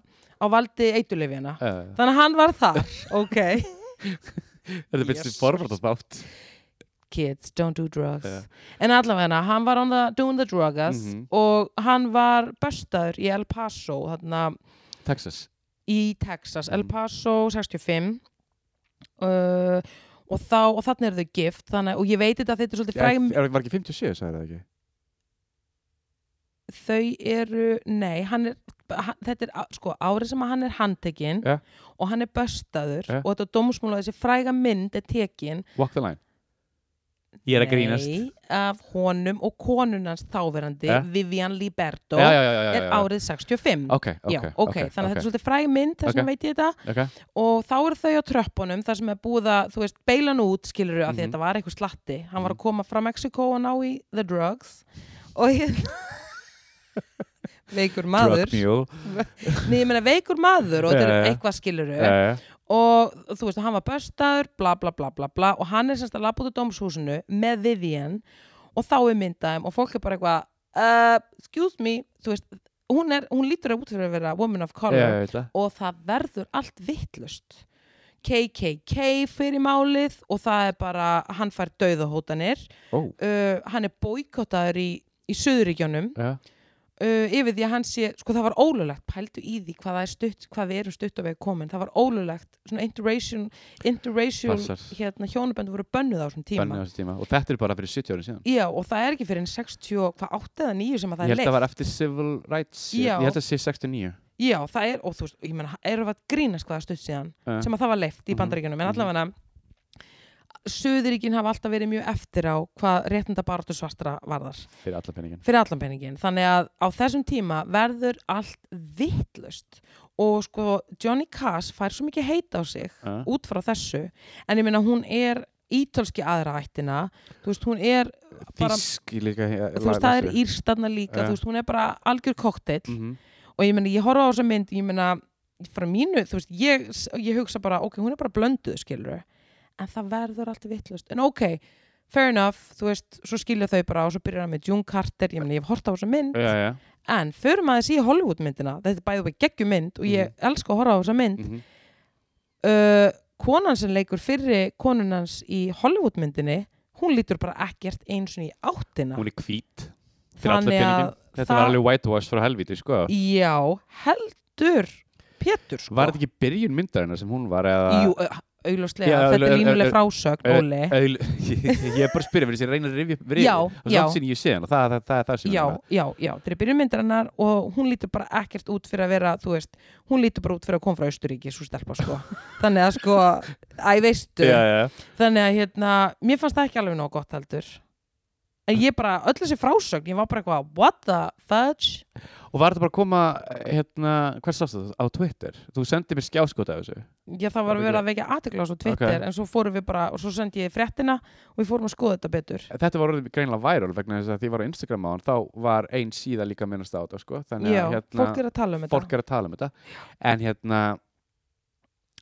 S1: á valdi eitulifjana
S2: uh,
S1: þannig að hann var þar, ok
S2: þetta finnst þið
S1: Jesus.
S2: forvarta þátt
S1: kids, don't do drugs
S2: Já.
S1: en allavega hann var on the, doing the drugs
S2: Mhm.
S1: og hann var bestaður í El Paso þarna
S2: Texas
S1: í Texas, El
S2: Mhm.
S1: Paso 65 uh, og, þá, og þarna eru þau gift þannig, og ég veit þetta að þetta er svolítið
S2: er,
S1: frægum
S2: er, var ekki 57 sagði það ekki
S1: þau eru, nei hann er, hann, þetta er á- sko árið sem að hann er handtekinn
S2: Já.
S1: og hann er bestaður
S2: Já.
S1: og þetta dómsmúla þessi fræga mynd er tekin
S2: walk the line ég er að grínast
S1: nei, af honum og konunans þáverandi
S2: Já.
S1: Vivian Liberto
S2: já, já, já, já, já,
S1: er
S2: já.
S1: árið 65
S2: ok, ok,
S1: Já, ok, þannig að þetta er svolítið fræg mynd þar sem
S2: Ok.
S1: veit ég þetta
S2: okay.
S1: og þá eru þau á tröppunum þar sem er búið að, þú veist, beilan út skilur þau að því
S2: Mhm.
S1: þetta var eitthvað slatti hann var
S2: Mhm.
S1: að koma frá Mexiko og ná í The Drugs og hérna veikur maður
S2: drug mule
S1: Nei, ég meina veikur maður og þetta
S2: Já,
S1: er
S2: já.
S1: eitthvað skilur þau
S2: uh,
S1: og þú veist, hann var börstaður bla bla bla bla bla og hann er semst að labba út á dómshúsinu með Vivian og þá er myndaðum og fólk er bara eitthvað uh, excuse me, þú veist hún, er, hún lítur að út fyrir að vera woman of color
S2: eh, ég veit það
S1: og það verður allt vittlust KKK fyrir málið og það er bara, hann fær dauðahótanir
S2: Ó,
S1: uh, hann er boykottaður í, í söðuríkjónum
S2: já.
S1: uh, yfir því að hann sé, sko það var ólulegt pældu í því hvað það er stutt, hvað við erum stutt á veg komin, það var ólulegt, svona interracial, interracial
S2: Passar.
S1: hérna hjónaböndu voru bönnuð á þessum tíma
S2: Bönnuð á þessum tíma. og þetta er bara fyrir 70 árum síðan
S1: Já, og það er ekki fyrir en 60, og- hvað 8 eða 9 sem að það
S2: ég
S1: er
S2: held að
S1: leitt
S2: það var eftir civil rights
S1: Já.
S2: ég held að það sé 69
S1: Já, það er, og þú veist, ég meina, erum við að grínast hvað það er stutt síðan
S2: uh,
S1: sem að það var leift í
S2: Mhm.
S1: bandaríkjunum en
S2: Mhm.
S1: allavega Suðuríkin hafa alltaf verið mjög eftir á hvað réttinda baráttu svartra varðar
S2: fyrir alla peningin
S1: fyrir allan peningin þannig að á þessum tíma verður allt vittlust og sko Johnny Cass fær svo mikið heita á sig
S2: uh,
S1: út frá þessu en ég meina hún er ítölski aðra ættina þú veist hún er bara-
S2: þísk í líka eh,
S1: þú veist það er
S2: laglæsi.
S1: írstanna líka
S2: Ja.
S1: þú veist hún er bara algjör kokteill
S2: Mhm.
S1: og ég meina ég horfa á þessa mynd ég meina frá mínu þú veist ég, ég hugsa bara ok hún er bara blönduð skilur en það verður alltaf vittlust en ok fair enough þú veist svo skilja þau bara og svo byrjar það með June Carter ég meina ég hef hort á þessa mynd
S2: já, já,
S1: en förum aðeins í Hollywood myndina þetta er bæðið við geggjum mynd og ég elska að horfa á þessa mynd
S2: mhm.
S1: uh, konan sem leikur fyrri konunans í Hollywood myndinni hún lítur bara ekkert eins og í áttina
S2: hún er hvít fyrir alla
S1: Þannig að
S2: peningin þetta
S1: það-
S2: var alveg whitewash frá helviti sko
S1: já heldur Pétur sko
S2: var þetta ekki byrjun myndarinnar sem hún var eða
S1: Jú, au- augljóslega,
S2: Já,
S1: þetta er
S2: augljó-
S1: línuleg
S2: augljó-
S1: frásögn,
S2: Eh,
S1: Óli
S2: Öl, ég, ég er bara að spyrja fyrir þess að reyna að rifja upp rifja
S1: Já,
S2: upp. það
S1: já.
S2: er langt sín ég sé hann og það, það, það er það sem
S1: Já,
S2: er
S1: já, já, þetta er byrjumyndarinnar og hún lítur bara ekkert út fyrir að vera, þú veist hún lítur bara út fyrir að koma frá Austuríki, svo stelpa sko þannig að sko, æ veistu
S2: já, já.
S1: þannig að hérna, mér fannst það ekki alveg nóg gott heldur en ég bara, öll þessi frásögn, ég var bara eitthvað what the fudge,
S2: og var þetta bara að koma hérna, hvað sást það á Twitter þú sendið mér skjáskot af þessu
S1: já það var verið að vekja aðtekla á svo Twitter,
S2: Ok.
S1: en svo fórum við bara og svo sendi ég fréttina og við fórum að skoða þetta betur
S2: þetta var orðið greinlega viral vegna þess að því ég var á Instagram á hann þá var ein síða líka minnast á þetta sko. þannig
S1: já,
S2: að hérna,
S1: fólk er að tala um þetta
S2: fólk er að tala um þetta en hérna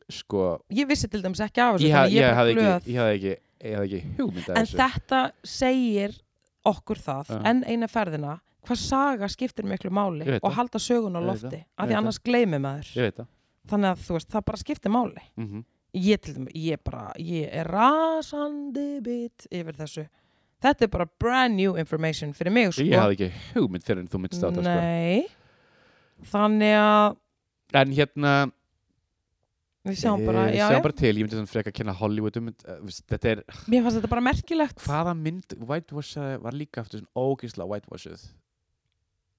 S2: sko
S1: ég vissi til dæmis ekki af þessu
S2: ég, ha,
S1: þannig
S2: ég,
S1: er bara
S2: hafði
S1: glöð.
S2: ekki, ég hafði ekki ég hafði ekki hugmynd af
S1: en
S2: þessu
S1: þetta segir okkur það
S2: Já.
S1: enn eina ferðina hvað saga skiptir miklu máli
S2: Ég veit
S1: og
S2: það.
S1: halda sögun á
S2: Ég veit
S1: lofti af
S2: það. Ég
S1: því
S2: veit
S1: annars gleymi maður
S2: ég veit það
S1: þannig að þú veist, það bara skiptir máli
S2: mm -hmm.
S1: ég til dæmis, ég bara, ég er rasandi bit yfir þessu þetta er bara brand new information fyrir mig sko
S2: ég hafði ekki hugmynd fyrir en þú myndst á þetta sko.
S1: nei þannig að
S2: en hérna
S1: við sjáum bara,
S2: Eh,
S1: já,
S2: sjáum
S1: já,
S2: bara til, ég myndi svona freka að kenna Hollywood um, eh, veist, þetta er,
S1: mér fannst þetta bara merkilegt
S2: hvaða mynd Whitewash eh, var líka aftur svona ógisla Whitewashuð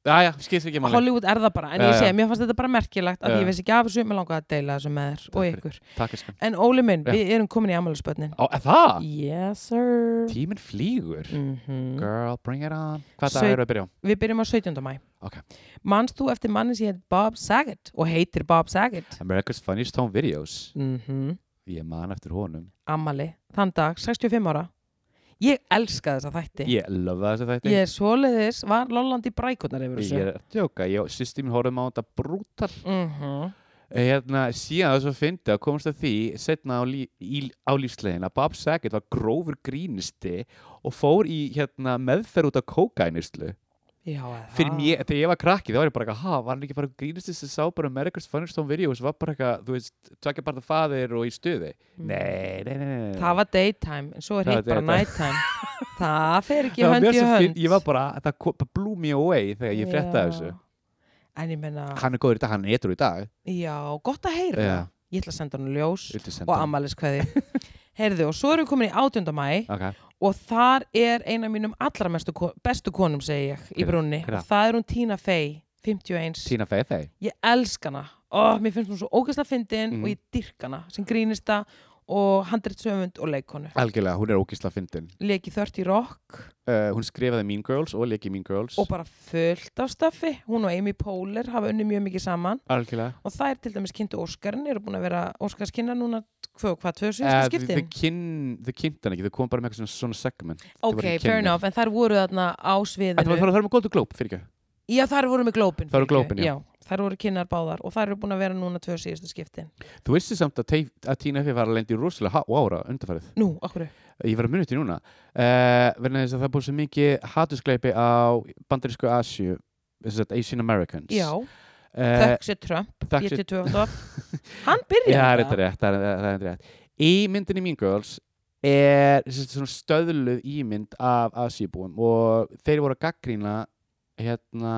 S2: Jæja, skilst ekki máli
S1: Hollywood er það bara, en
S2: Já,
S1: ég
S2: já.
S1: segi, mér fannst þetta bara merkilegt að
S2: Já.
S1: ég veist ekki af þessu, mér langaði að deila þessu með þér
S2: Takk
S1: og
S2: fyrir.
S1: ykkur
S2: Takk elskan
S1: En Óli minn,
S2: Já. Ah.
S1: við erum komin í ammálusbönnin.
S2: Ó, er það?
S1: Yes, sir.
S2: Tíminn flýgur
S1: Mm
S2: Girl, bring it on Hvað
S1: Sau-
S2: það eru að byrja á?
S1: Við byrjum á 17. mæ.
S2: Ok.
S1: Manst þú eftir manni sem heit Bob Saget og heitir Bob Saget?
S2: America's Funniest Home Videos
S1: Mm
S2: Ég man eftir honum
S1: Ammali, þann dag, 65 ára. Ég elska þessa þætti.
S2: Ég lofa þess að þetta
S1: Ég er svoleiðis, var lollandi brækurnar yfir
S2: Ég
S1: þessu.
S2: er að djóka, ég og sýsti mín horfum á þetta brútal
S1: Mhm.
S2: hérna, síðan þess að fyndi að komast að því setna á, lí, í, á lífslegin að Bob Saget var grófur grínisti og fór í hérna, meðferð út af kókænislu
S1: Já, eða.
S2: fyrir mér, þegar ég var krakki þá var ég bara eitthvað, ha, var hann ekki bara grínisti sem sá bara America's Funniest Home Videos var bara eitthvað, þú veist, tvekja bara það faðir og í stuði
S1: Mm.
S2: nei, nei, nei, nei, nei.
S1: Það var daytime, en svo er
S2: Það
S1: hitt
S2: var
S1: bara
S2: daytime.
S1: nighttime. það fer ekki
S2: Það var
S1: hönd
S2: mér
S1: í
S2: svo
S1: hönd.
S2: finn- ég var bara, það kom- það blew me away þegar ég fréttaði þessu
S1: En ég menna,
S2: hann er góður í dag, hann er eitthvað í dag
S1: já, gott að heyra.
S2: Já.
S1: Ég ætla að senda hann ljós.
S2: Viltu senda
S1: og
S2: hann?
S1: ammæliskveði Heyrðu, og svo erum við komin í 18. mæ
S2: Ok.
S1: og þar er eina af mínum allra mestu, ko- bestu konum, segi ég, í
S2: Hver-
S1: brunni
S2: hver er
S1: og það er hún Tina Fey, 51
S2: Tina Fey Fey
S1: ég elska hana oh, mér finnst hún svo ógæsla fyndin
S2: Mhm.
S1: og ég dyrk hana sem grínista og handritsöfund og leikonu
S2: algjörlega, hún er ógisla fyndin
S1: leki 30 rock
S2: uh, hún skrifaði Mean Girls og leiki Mean Girls
S1: og bara fullt af stöfi hún og Amy Poehler hafa unni mjög mikið saman
S2: algjörlega
S1: og það er til dæmis kynntu Óskarinn eru búin að vera Óskarskinna núna hvað, hvað, tvö síðustu
S2: Eh, þau-
S1: skiptin?
S2: þau kyn- þau kynntu hann ekki, þau kom bara með eitthvað svona, svona segment
S1: ok,
S2: ekki
S1: fair
S2: kynnir.
S1: enough, en þær voru þarna á sviðinu
S2: Þetta var það var með Golden Globe, fyrir ekki
S1: Já, þær voru með glópin.
S2: Þær voru
S1: fyrirgefðu.
S2: glópin, já.
S1: Já, þær voru kynnar báðar og þær eru búin að vera núna tvö síðustu skiptin.
S2: Þú vissir samt að, Tei- að Tina Fey var að lendi rosalega há ára undarfærið
S1: Nú, okkur.
S2: Ég var að muni til núna uh, verðin þess að það er búið svo mikið hatuskleipi á bandarísku Asju þess að Asian Americans
S1: Já,
S2: uh,
S1: þökk sér Trump,
S2: þökk
S1: ég
S2: sé-
S1: til tvöfandar. Hann byrjaði
S2: Já, það er þetta rétt, það er, það er rétt Í myndinni Mean Girls er sem sagt, svona stöðluð ímynd af Asíbúum og þeir voru að gaggrína hérna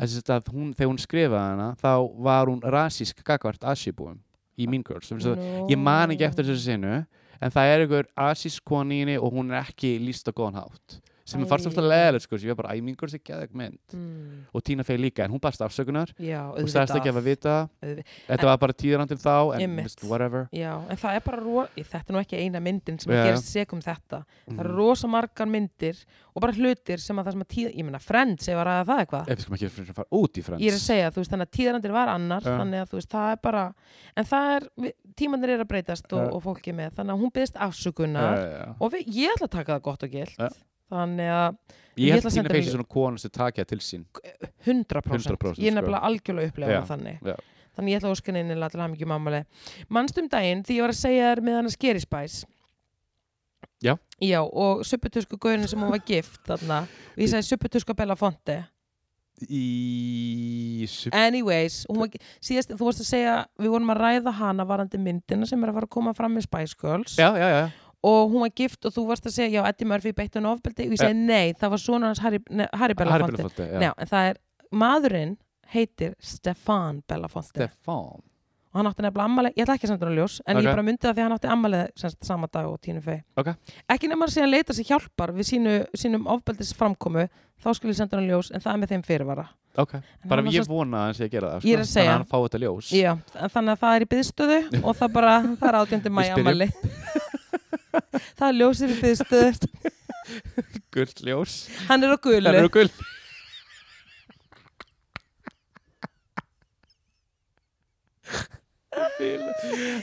S2: þess að hún, þegar hún skrifaði hana þá var hún rasísk gagvart asíbúum í Mean Girls Sem sagt, ég man ekki eftir þessu sinu en það er einhver asísk koni í henni og hún er ekki líst á góðan hátt sem er
S1: Æ.
S2: fannst alltaf leðilegt sko, sem ég var bara, æ, Mean Girls er geðveg mynd
S1: mm,
S2: og Tina Fey líka, en hún barst afsökunar
S1: já,
S2: hún sagðist ekki að vita
S1: auðvitað.
S2: þetta var bara tíðran til þá en,
S1: Einmitt.
S2: veist, whatever
S1: já, en það er bara ro... Í, þetta er nú ekki eina myndin sem
S2: Já.
S1: gerist segum þetta það eru
S2: Mhm.
S1: rosa margar myndir og bara hlutir sem að það sem að tíð ég meina Friends, ég var að það eitthvað
S2: ef við skulum ekki fyrir að fara út í frans
S1: ég er að segja, þú veist, þannig að tíðrandir var annar
S2: Já.
S1: þannig að þú veist, það er bara en það er, við- tímarnir eru að breytast og,
S2: Já.
S1: og fólki með, þannig að hún byggðist afsökunar
S2: segja
S1: og við, ég ætla að taka það gott og gilt
S2: Já.
S1: þannig að Ég
S2: ég held
S1: ætla að
S2: að
S1: senda
S2: Tina Fey sé
S1: mér-
S2: svona konu sem takja til sín
S1: 100%,
S2: 100%,
S1: ég er
S2: sko.
S1: nefnilega algjörlega að upplega
S2: Já,
S1: það þannig
S2: já.
S1: þannig ég ætla að óska neinilega til hamingjum ámali mannst um daginn því ég var að segja þér með hann að skeri spæs
S2: Já.
S1: Já, og supputusku gaurin sem hún var gift þarna, og ég sagði supputusku að bella fonti
S2: í sub-
S1: anyways, hún var, síðast þú varst að segja, við vorum að ræða hana varandi myndina sem er að fara að koma fram með Spice Girls
S2: já, já, já,
S1: og hún var gift og þú varst að segja, já, Eddie Murphy beitt hún ofbeldi og ég segi, nei, það var svona hans Harry, nei, Harry
S2: Harry
S1: Belafonte
S2: Belafonte já.
S1: Já, en það er, maðurinn heitir Stefan Belafonte
S2: Stefan
S1: og hann átti nefnilega ammali, ég ætla ekki að senda hann ljós en
S2: Ok.
S1: ég bara myndi það því að hann átti ammali semst, sama dag og tínu fei
S2: Ok.
S1: ekki nema að segja að leita sér hjálpar við sínu, sínum ofbeldis framkomu þá skulle ég senda hann ljós en það er með þeim fyrirvara
S2: ok,
S1: En
S2: bara
S1: hann var
S2: ég
S1: sem-
S2: vona að hann sé að gera það
S1: Ég er að
S2: sko,
S1: segja.
S2: þannig að hann fá þetta ljós
S1: Já, en þannig að það er í byðstöðu og það bara, það er átjöndi mæja
S2: Við
S1: amali það er ljósir í byðstöðu
S2: gult ljós
S1: hann er á
S2: það
S1: gulu
S2: eru gul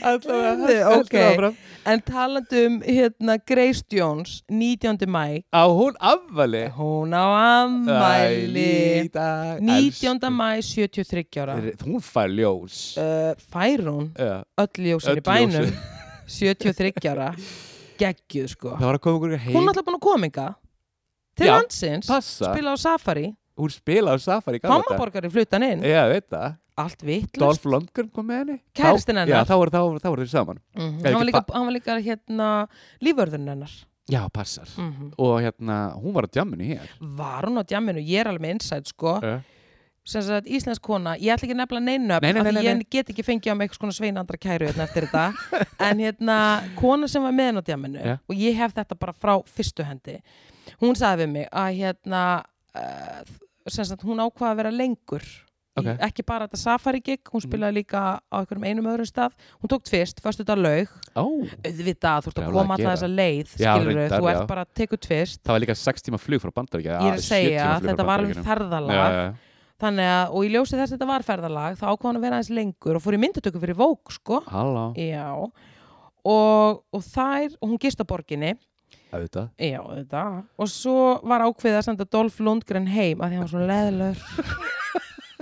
S1: Heyrðu,
S2: allavega
S1: ok. en talandi um hérna Grace Jones 19. mæ,
S2: á hún afvali
S1: hún á amæli
S2: Í dag.
S1: 19. mæ 73 ára
S2: Elsku. hún fær ljós
S1: uh, fær hún
S2: Já,
S1: öll ljósin
S2: öll
S1: í bænum
S2: ljósin.
S1: 73 ára geggjuð sko
S2: það var að koma ykkur heim
S1: hún er alltaf búin að koma inga til
S2: Já,
S1: landsins,
S2: passa,
S1: spila á Safari
S2: hún spila á Safari í gamla daga.
S1: Kammaborgari fluttan inn,
S2: Já, ég veit það
S1: allt vittlust
S2: Eh, Dolph Lundgren kom með henni
S1: Kærastinn
S2: Þá-
S1: hennar.
S2: Já, þá voru- þá voru þá voru þeir saman
S1: mm
S2: er
S1: hann, var
S2: ekki
S1: líka, hann var líka hérna líförðurinn hennar
S2: Já, passar
S1: mm
S2: Og hérna, hún var á djamminu hér
S1: var hún á djamminu, ég er alveg með insight sko
S2: Já.
S1: sem sagt íslensk kona, ég ætla ekki að nefna neinu
S2: Nei, nei,
S1: af
S2: nei,
S1: því
S2: nei,
S1: ég get ekki fengið á mig eitthvað svona sveinandra kæru hérna eftir þetta en hérna, kona sem var með henn á djamminu
S2: Já.
S1: og ég hef þetta bara frá fyrstu hendi hún sagði við mig að hérna uh, sem sagt hún ákvaða að vera lengur
S2: Ok. Mhm.
S1: Í- ekki bara þetta safari gig, hún spilaði líka á einhverjum einum öðrum stað, hún tók tvist, föstu þetta laug
S2: Ó,
S1: auðvitað, þú ert að
S2: Brjálæði
S1: koma
S2: að
S1: alltaf
S2: gera.
S1: þessa leið
S2: Já,
S1: skilur
S2: reyndar,
S1: þú ert
S2: já.
S1: bara að teku tvist
S2: það var líka 6 tíma flug frá bandaríkja
S1: ég er að segja, þetta var um alveg ferðalag
S2: Já,
S1: þannig að, og ég ljósi þess að þetta var ferðalag þá ákvað hann að vera aðeins lengur og fór í myndatöku fyrir Vók, sko
S2: halló,
S1: já, og, og þær og hún gist á borginni,
S2: auðvitað
S1: já, þetta og svo var ákveðið að senda Dolph Lundgren heim að því hann var svona leðlur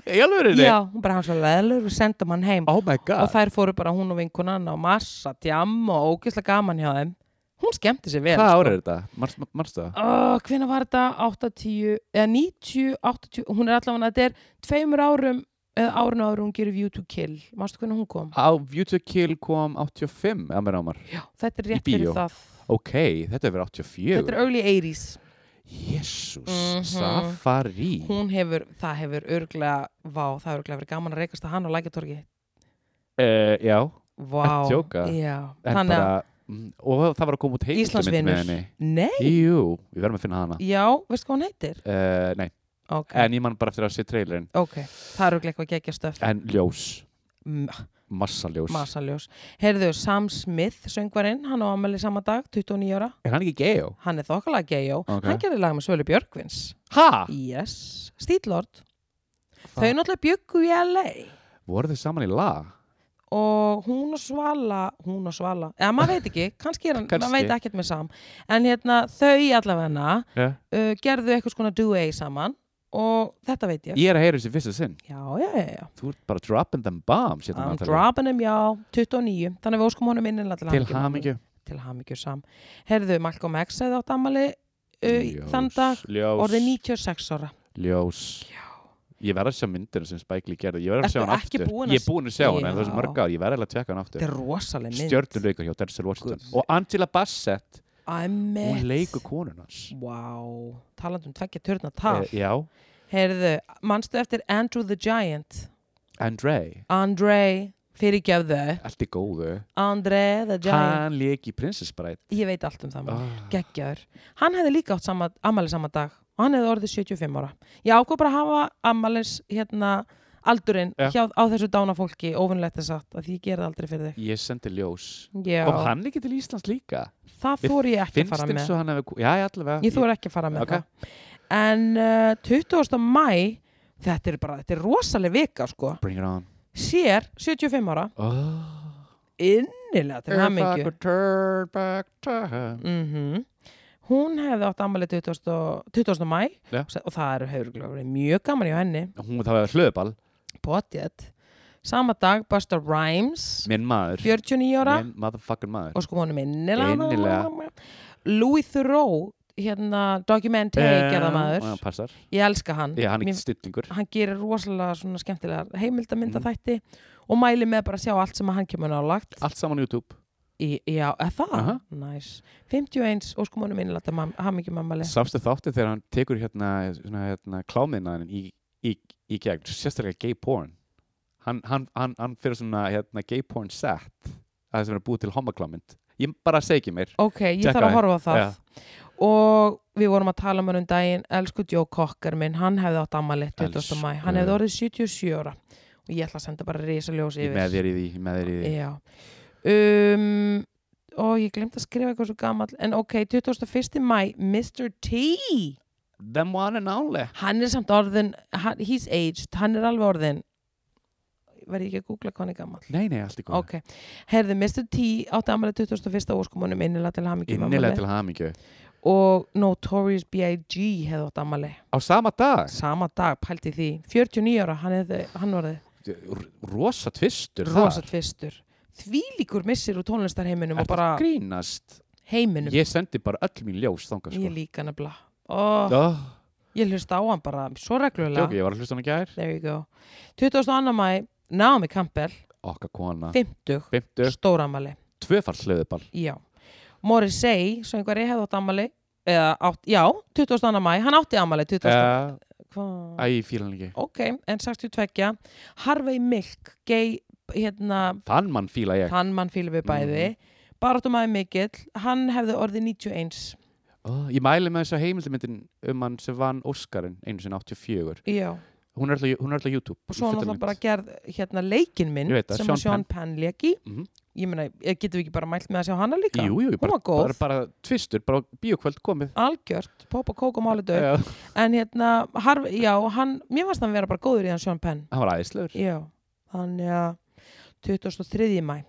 S2: Í alvörinni?
S1: já, hún bara hann var svona leðlur og sendum hann heim
S2: Oh my
S1: og
S2: god
S1: þær fóru bara hún og vinkunan á massa tjam og ógislega gaman hjá þeim hún skemmti sér vel
S2: Hvað
S1: sko.
S2: ára er þetta? Marst, marst það?
S1: oh, hvenna var þetta 80, eða 90, 80 hún er allavega, þetta er tveimur árum eða árun árum hún gerir View to Kill mástu hvernig hún kom?
S2: Á View to Kill kom 85 að mér ámar
S1: Já, þetta er
S2: Í
S1: rétt fyrir
S2: bíó.
S1: það
S2: Ok, þetta hefur verið 84
S1: þetta er early 80s
S2: Jésús,
S1: Mhm.
S2: Safari
S1: hún hefur, það hefur örglega vá, það hefur örglega verið gaman að reykast að hann á lækjartorgi
S2: uh, Já,
S1: vá,
S2: Að djóka?
S1: já,
S2: en
S1: þannig að
S2: bara mm, Og það var að koma út heimildamind með
S1: Íslandsvinur
S2: henni
S1: nei,
S2: Jú, við verðum að finna hana
S1: já, veistu hvað hún heitir?
S2: uh, Nei,
S1: ok,
S2: en ég man bara eftir að sé trailerinn
S1: ok, það er örglega eitthvað geggja stöf
S2: En ljós,
S1: M-
S2: massa ljós
S1: masaljós heyrðu, Sam Smith, söngvarinn hann á amæli sama dag, 29 ára
S2: Er hann ekki geo?
S1: hann er þokkalega gejó
S2: Ok. Ah.
S1: hann gerði lag með Svölu Björgvins
S2: Ha?
S1: yes, stílord þau náttúrulega byggu í LA
S2: Voru þau saman í lag?
S1: og hún og Svala hún og Svala, eða maður veit ekki kannski er hann,
S2: Kannski.
S1: maður veit ekkert með Sam en hérna þau allavega
S2: Yeah.
S1: uh, gerðu eitthvað skona duet saman og þetta veit ég
S2: Ég er að heyra þessi fyrsta sinn
S1: já, já, já, já
S2: Þú ert bara dropping them bombs hérna,
S1: I'm
S2: Natalie.
S1: dropping him, já, 29 þannig að við óskum honum innilega til
S2: Til
S1: hamingju.
S2: hamingju
S1: til hamingju sam Herðu, Malcolm X hefði átt amali uh,
S2: Ljós,
S1: þann dag
S2: ljós,
S1: orðið 96 ára
S2: Ljós Ég verð að sjá myndina sem Spike Lee gerði Ég verð að
S1: Ertu
S2: sjá hann
S1: ekki
S2: aftur
S1: búin að
S2: Ég er búin að sjá hann en það er
S1: Já.
S2: svo mörg ár Ég verð eiginlega að tjekka hann
S1: Þetta
S2: aftur
S1: er rosaleg mynd
S2: Stjörnuleikur hjá Denzel Washington
S1: Guð.
S2: Og Angela Bassett
S1: Æmett
S2: Hún leikur konunars
S1: Vá, talandi um tveggja törna tal
S2: Eh, Já,
S1: Heyrðu, manstu eftir Andrew the Giant?
S2: Andre,
S1: Andre, fyrirgefðu.
S2: allt í góðu
S1: Andre the Giant.
S2: hann lék í Princess Bride
S1: Ég veit allt um það. mann.
S2: Ah.
S1: Geggjaður. Hann hefði líka átt sama, ammæli sama dag og hann hefði orðið 75 ára. Ég ákvað bara að hafa ammælis hérna aldurinn
S2: Já.
S1: hjá, á þessu dána fólki, óvinnlegt þess að því ég gerði aldrei fyrir þig.
S2: ég sendi ljós
S1: Já,
S2: kom hann ekki til Íslands líka
S1: það
S2: Mér
S1: þóri ég ekki að
S2: finnst
S1: fara með.
S2: eins og hann hefur já, já, allavega
S1: Ég þóri ekki að fara með
S2: Ok.
S1: það. En uh, 20. mæ, þetta er bara, þetta er rosaleg vika sko.
S2: bring it on
S1: Sér, 75 ára,
S2: oh.
S1: innilega til hamingju.
S2: turn back time
S1: mm hún hefði átt ammæli 20. og- 20. mæ
S2: Já.
S1: og, og það eru hefur mjög gaman hjá henni
S2: hún það var hlöðball,
S1: potjett sama dag Busta Rhymes
S2: minn maður
S1: 49 ára
S2: minn motherfucking maður
S1: og sko honum innilega,
S2: Innilega.
S1: Louis Theroux hérna documentary
S2: Eh,
S1: gerða maður
S2: já, passar.
S1: ég elska hann
S2: Já, hann er
S1: Mér-
S2: ekki stillingur
S1: hann gerir rosalega svona skemmtilegar heimildamynda þætti
S2: Mhm.
S1: og mæli með bara að sjá allt sem að hann kemur nálagt
S2: allt saman á YouTube,
S1: Í- já, eða það,
S2: Ah. Aha.
S1: nice 51 og sko honum innilega hann ekki mammali
S2: samstu þátti þegar hann tekur hérna, svona, hérna klámiðna í, í, í gegn, sérstaklega gay porn hann, hann, hann, hann fyrir svona hérna, gay porn set að það sem er búið til homaklámynd ég bara segi ekki mér
S1: Ok, ég
S2: Tjekka
S1: þarf að
S2: þig.
S1: horfa á það og við vorum að tala um hann um daginn elsku Joe Cocker minn, hann hefði átt ammali 20.
S2: Elsku.
S1: mæ, hann hefði orðið 77 ára og ég ætla að senda bara risaljós
S2: ég
S1: yfir
S2: með þér í því, ég með þér í því
S1: Já um, og ég glemt að skrifa eitthvað svo gamall en ok, 21. mæ, Mr. T
S2: them one and only
S1: hann er samt orðin hann, he's aged, hann er alveg orðin verði ekki að googla hvað hann er gamall
S2: nei, nei, allt í góð,
S1: ok, herði Mr. T átti ammali 21. óskumunum innilega til hamingjum
S2: innilega til hamingju
S1: og Notorious B.I.G. hefði átt ammali
S2: á sama dag,
S1: sama dag, pælti því 49 ára, hann, hefði, hann var
S2: R- rosa tvistur
S1: rosa tvistur því líkur missir úr tónlistarheiminum og bara
S2: bara... grínast
S1: heiminum ég,
S2: ég sendi bara öll mín ljós þangað sko.
S1: líka nefnilega oh,
S2: oh,
S1: ég hlusta á hann bara svo reglulega
S2: ég var að hlusta hann í gær
S1: there you go 22. mæ, Naomi Campbell
S2: okkar kona,
S1: 50,
S2: 50,
S1: stóramæli
S2: tvöfall hlöðuball
S1: já, Morrissey söngvari hefði átt ammali eða, átt, já, 22. mæ, hann átti ammali 20.
S2: uh,
S1: hvað
S2: æ, ég fíla hann ekki
S1: ok, en 62 Harvey Milk, gay hérna,
S2: þann mann fíla ég
S1: hann mann fílu við bæði
S2: Mm.
S1: Baráttumæði mikill, hann hefði orðið 91
S2: oh, ég mæli með þessa heimildamindin um hann sem vann Óskarinn einu sinni 84
S1: já, og
S2: hún er alltaf, hún er alltaf YouTube
S1: svo hann alltaf bara gerð hérna leikin minn
S2: Ég veit það,
S1: sem
S2: Sean
S1: að Sean Penn leki
S2: Mhm.
S1: ég meina, eh, getum við ekki bara mælt með að sjá hana líka
S2: jú, jú, ég
S1: hún
S2: bara,
S1: var góð,
S2: bara, bara tvistur, bara bíokvöld komið
S1: algjört pop og kók og máli dög,
S2: Já,
S1: en hérna harf, já, hann, mér varst hann vera bara góður í hann Sean Penn,
S2: hann var aðeinslegur
S1: já þannig að 23. mæ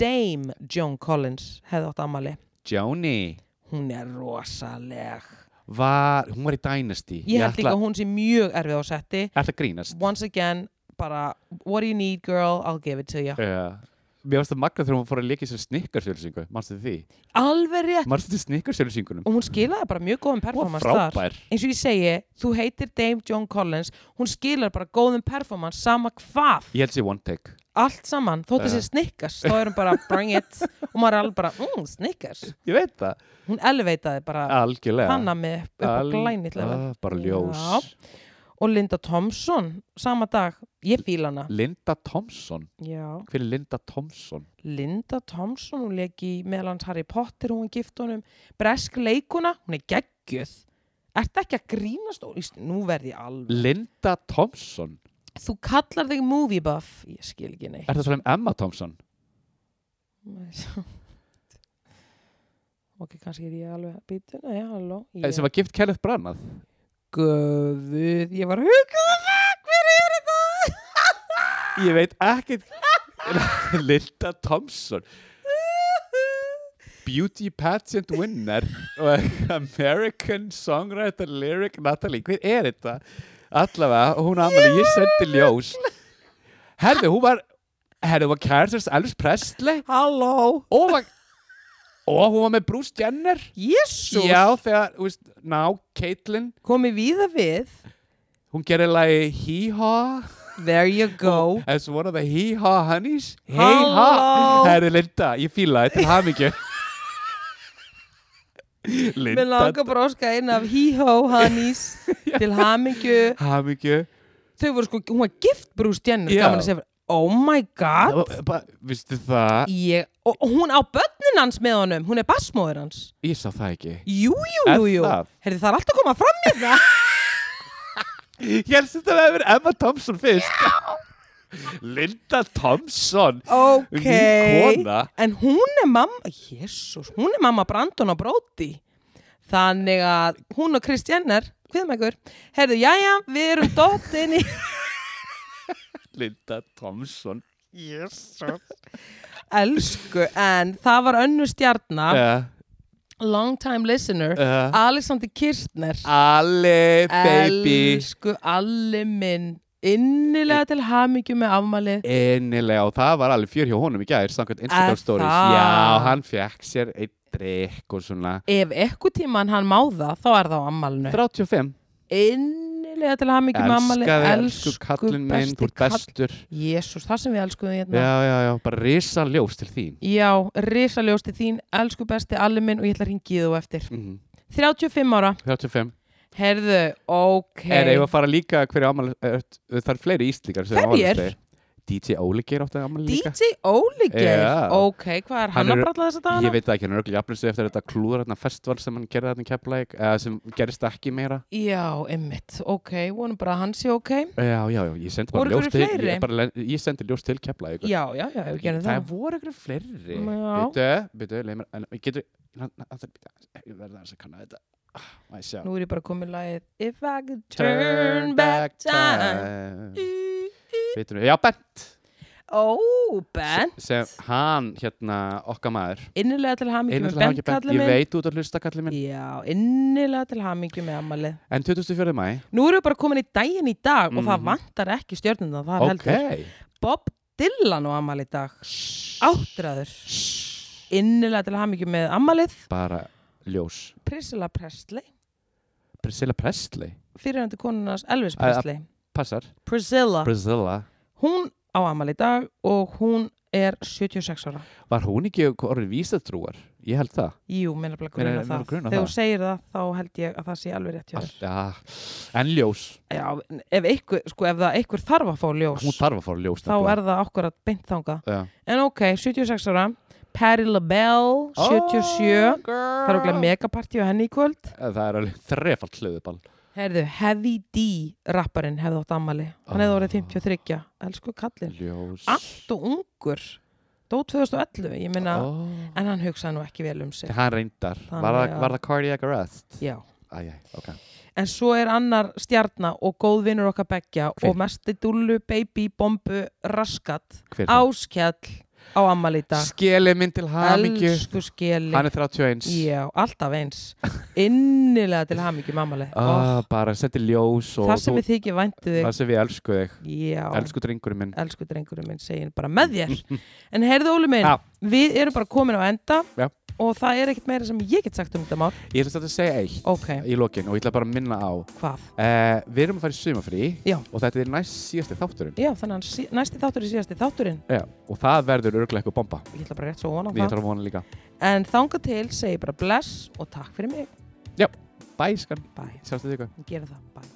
S1: Dame Joan Collins hefði átt ammali
S2: Johnny
S1: hún er rosaleg
S2: var, hún var í Dynasty
S1: ég held líka að hún sé mjög erfið á setti
S2: ætla að grínast
S1: once again, bara what do you need girl, I'll give it to you
S2: uh, mér varst það magna þegar hún fór að leika sér snikkarsjölusingu mannstu því,
S1: alveg rétt,
S2: mannstu því snikkarsjölusingunum
S1: og hún skilaði bara mjög góðum
S2: hún var
S1: performance þar
S2: frábær
S1: eins og ég segi, þú heitir Dame Joan Collins hún skilar bara góðum performance sama hvað,
S2: ég held sér one take
S1: allt saman þótt þessi
S2: Já.
S1: snikkars, þá er hún bara bring it og maður er alveg bara, mm, snikkars
S2: ég veit það,
S1: hún eleveitaði bara
S2: algjörlega
S1: hanna með upp á
S2: Al-
S1: glænit level
S2: Ah, bara ljós
S1: Já. og Linda Thompson, sama dag ég fíla hana
S2: Linda Thompson,
S1: Já.
S2: hver er Linda Thompson?
S1: Linda Thompson, hún leik í meðlans Harry Potter, hún gift honum Bresk leikuna, hún er geggjöð Ertu ekki að grínast? Ó, íst- Nú verði ég alveg
S2: Linda Thompson
S1: Þú kallar þig movie buff Ég skil ekki neitt
S2: er það svona um Emma Thompson?
S1: Ok, kannski er ég alveg að býta Nei, halló
S2: Yeah.
S1: ég...
S2: Eh, sem var gift Kenneth Branagh
S1: Guð, ég var að huga það Hver er þetta?
S2: ég veit ekkert Linda Thompson beauty pageant winner og American songwriter lyric Natalie, hver er þetta? allavega, hún ammali, ég sendi ljós herðu, hún var herðu, hún var kærastast Elvis Presley
S1: Halló
S2: og, var, og hún var með Bruce Jenner
S1: Jésús
S2: já, þegar, þú veist, ná, Caitlyn
S1: Komið víða við
S2: hún gerir lagi hee-haw
S1: There you go
S2: as one of the hee-haw honeys
S1: Halló.
S2: hee-haw, herðu Linda, ég fíla þetta er hamingju
S1: Mér langar bara að óska einn af Híhó Hannís til hamingju
S2: hamingju
S1: Þau voru sko, hún var gift Bruce Jenner
S2: Já.
S1: gaman að segja, oh my god
S2: Það var bara- Vistu það,
S1: ég, og, og hún á börnin hans með honum Hún er basmóður hans
S2: ég sá það ekki
S1: Jú, jú,
S2: Er
S1: jú, jú
S2: það?
S1: Herði, það er alltaf að koma fram hérna. með það
S2: Ég helst þetta að vera Emma Thompson fyrst Linda Thompson
S1: Ok
S2: Ný kona
S1: En hún er mamma, jésús, hún er mamma Brandon og Brody. Þannig að hún og Kris Jenner, hviðmækur, herðu, jæja, við erum dottinni.
S2: Linda Thompson
S1: Elsku, en það var önnu stjarnar,
S2: uh,
S1: long time listener,
S2: uh,
S1: Alexander Kirstner.
S2: Ali baby
S1: Elsku, allir minn, innilega til hamingju með afmælið.
S2: Ennilega og það var alveg fjör hjá honum í gær samkvæmt
S1: Er
S2: Instagram stories
S1: það?
S2: Já, hann fekk sér einn drikk og svona
S1: Ef ekkur tíman hann má það, þá er það á afmælinu.
S2: 35
S1: Innilega til hamingju með afmælið.
S2: Elskaði, elsku kallinn minn, þú ert
S1: kall-
S2: bestur
S1: Jésús, það sem við elskuðum hérna.
S2: Já, já, já, bara risa ljós til þín
S1: Já, risaljósti þín, elsku besti allir minn og ég ætla að ringi þú eftir.
S2: mm,
S1: 35 ára,
S2: 35
S1: herðu, ok.
S2: En ef að fara líka hverju ámæli Það er fleiri íslíkar sem
S1: Hverjir?
S2: afmælisdegi. DJ Óli geir átti ámæli líka
S1: DJ Óli Geir,
S2: Já.
S1: ok, hvað er hann
S2: Hann
S1: að
S2: er-
S1: bralla þessa
S2: Ég
S1: dagana?
S2: veit það ekki, hann er örugglega jafnir sig eftir þetta klúður hérna festival sem hann gerði þarna í Keflæk eða sem gerist ekki meira
S1: Já, einmitt, ok, vonum bara að hann sé ok.
S2: Já, já, já, ég sendi bara
S1: Voru
S2: ljós
S1: einhverjir
S2: til
S1: fleiri?
S2: ég, bara, len- ég sendi ljós til Keflæk
S1: Já, já, já, við gerum það.
S2: voru ykkur fleiri
S1: Já.
S2: Byttu, byttu, leið mér en Getur, hann- hann- hann- ég verði aðeins að kanna þetta Ah, Má ég sjá
S1: Nú er ég bara komið lagið If I could turn back time. Í, í.
S2: Byttu, já, Bent
S1: Ó, Ben,
S2: sem hann, hérna, okkar maður
S1: innilega til hamingju
S2: Einar
S1: með
S2: til
S1: Ben
S2: hamingi Bent,
S1: kallið
S2: ég
S1: minn.
S2: veit þú ert að hlusta kallið minn
S1: Já, innilega til hamingju með amalið.
S2: En 24. mæ,
S1: Nú erum við bara komin í daginn í dag og það
S2: Mhm.
S1: vantar ekki stjörnuna, það er
S2: ok
S1: heldur. Bob Dylan og ammali í dag. Áttræður. Innilega til hamingju með ammalið.
S2: Bara ljós
S1: Priscilla Presley.
S2: Priscilla Presley,
S1: Fyrirhandi konunars Elvis
S2: Æ, að-
S1: Presley.
S2: passar
S1: Priscilla.
S2: Priscilla,
S1: Hún á ammali í dag og hún er 76 ára.
S2: var hún ekki orðin vísatrúar? Ég held það
S1: Jú, minna bara
S2: Mér
S1: gruna
S2: er- mér
S1: það.
S2: er grunað
S1: Þegar
S2: það.
S1: þú segir það, þá held ég að það sé alveg rétt hjá þér.
S2: Allt, ja. En ljós,
S1: Já, en ef, einhver, sko, ef það einhver þarf að fá ljós,
S2: hún þarf að fara ljós
S1: þá er það okkur að beint þangað.
S2: það
S1: En ok, 76 ára Patti LaBelle,
S2: Oh,
S1: 77 Það er okkur megapartí á henni í kvöld
S2: Eh, Það er alveg þrefald hlöðuball
S1: Herðu, Heavy D rapparinn hefði átt ammali Hann hefði orðið 53, elsku kallinn
S2: Ljós
S1: Allt og ungur Dó 2011, ég minna
S2: Ó.
S1: En hann hugsaði nú ekki vel um sig
S2: Hann reyndar,
S1: Þannig
S2: var það,
S1: að-
S2: var það cardiac arrest?
S1: Já,
S2: Æj, æj, ok
S1: en svo er annar stjarnar og góð vinnur okkar beggja
S2: Hver?
S1: og mesti dúllu, baby, bombu, raskat
S2: Hver er það?
S1: Áskjall á ammali í dag
S2: Skeli minn til hamingju
S1: Elsku skeli
S2: Hann er 31
S1: Já, alltaf eins Innilega til hamingju mammalið
S2: ah, Bara sendi ljós og
S1: Það sem
S2: þú-
S1: við þykir væntu þig
S2: það sem við elsku þig
S1: Já, elsku,
S2: Elsku drengurinn minn
S1: drengurinn minn segir bara með þér En heyrðu Óli minn,
S2: Já.
S1: við erum bara komin á enda
S2: Já.
S1: Og það er ekkert meira sem ég get sagt um þetta mál
S2: Ég ætla þetta að segja eitt
S1: Ok,
S2: í lokin og ég ætla bara að minna á
S1: hvað?
S2: uh, Við erum að fara í sumafrí
S1: Já.
S2: og þetta er næst síðasti þátturinn
S1: Já, þannig að sí- næsti þáttur er síðasti þátturinn
S2: Já. og það verður örglega eitthvað bomba
S1: Ég ætla bara rétt svo vona
S2: Ég
S1: það
S2: þarf að vona líka
S1: En þanga til, segi bara bless og takk fyrir mig
S2: Bæ, skan,
S1: Bæ,
S2: sjástu þig
S1: gera það, bæ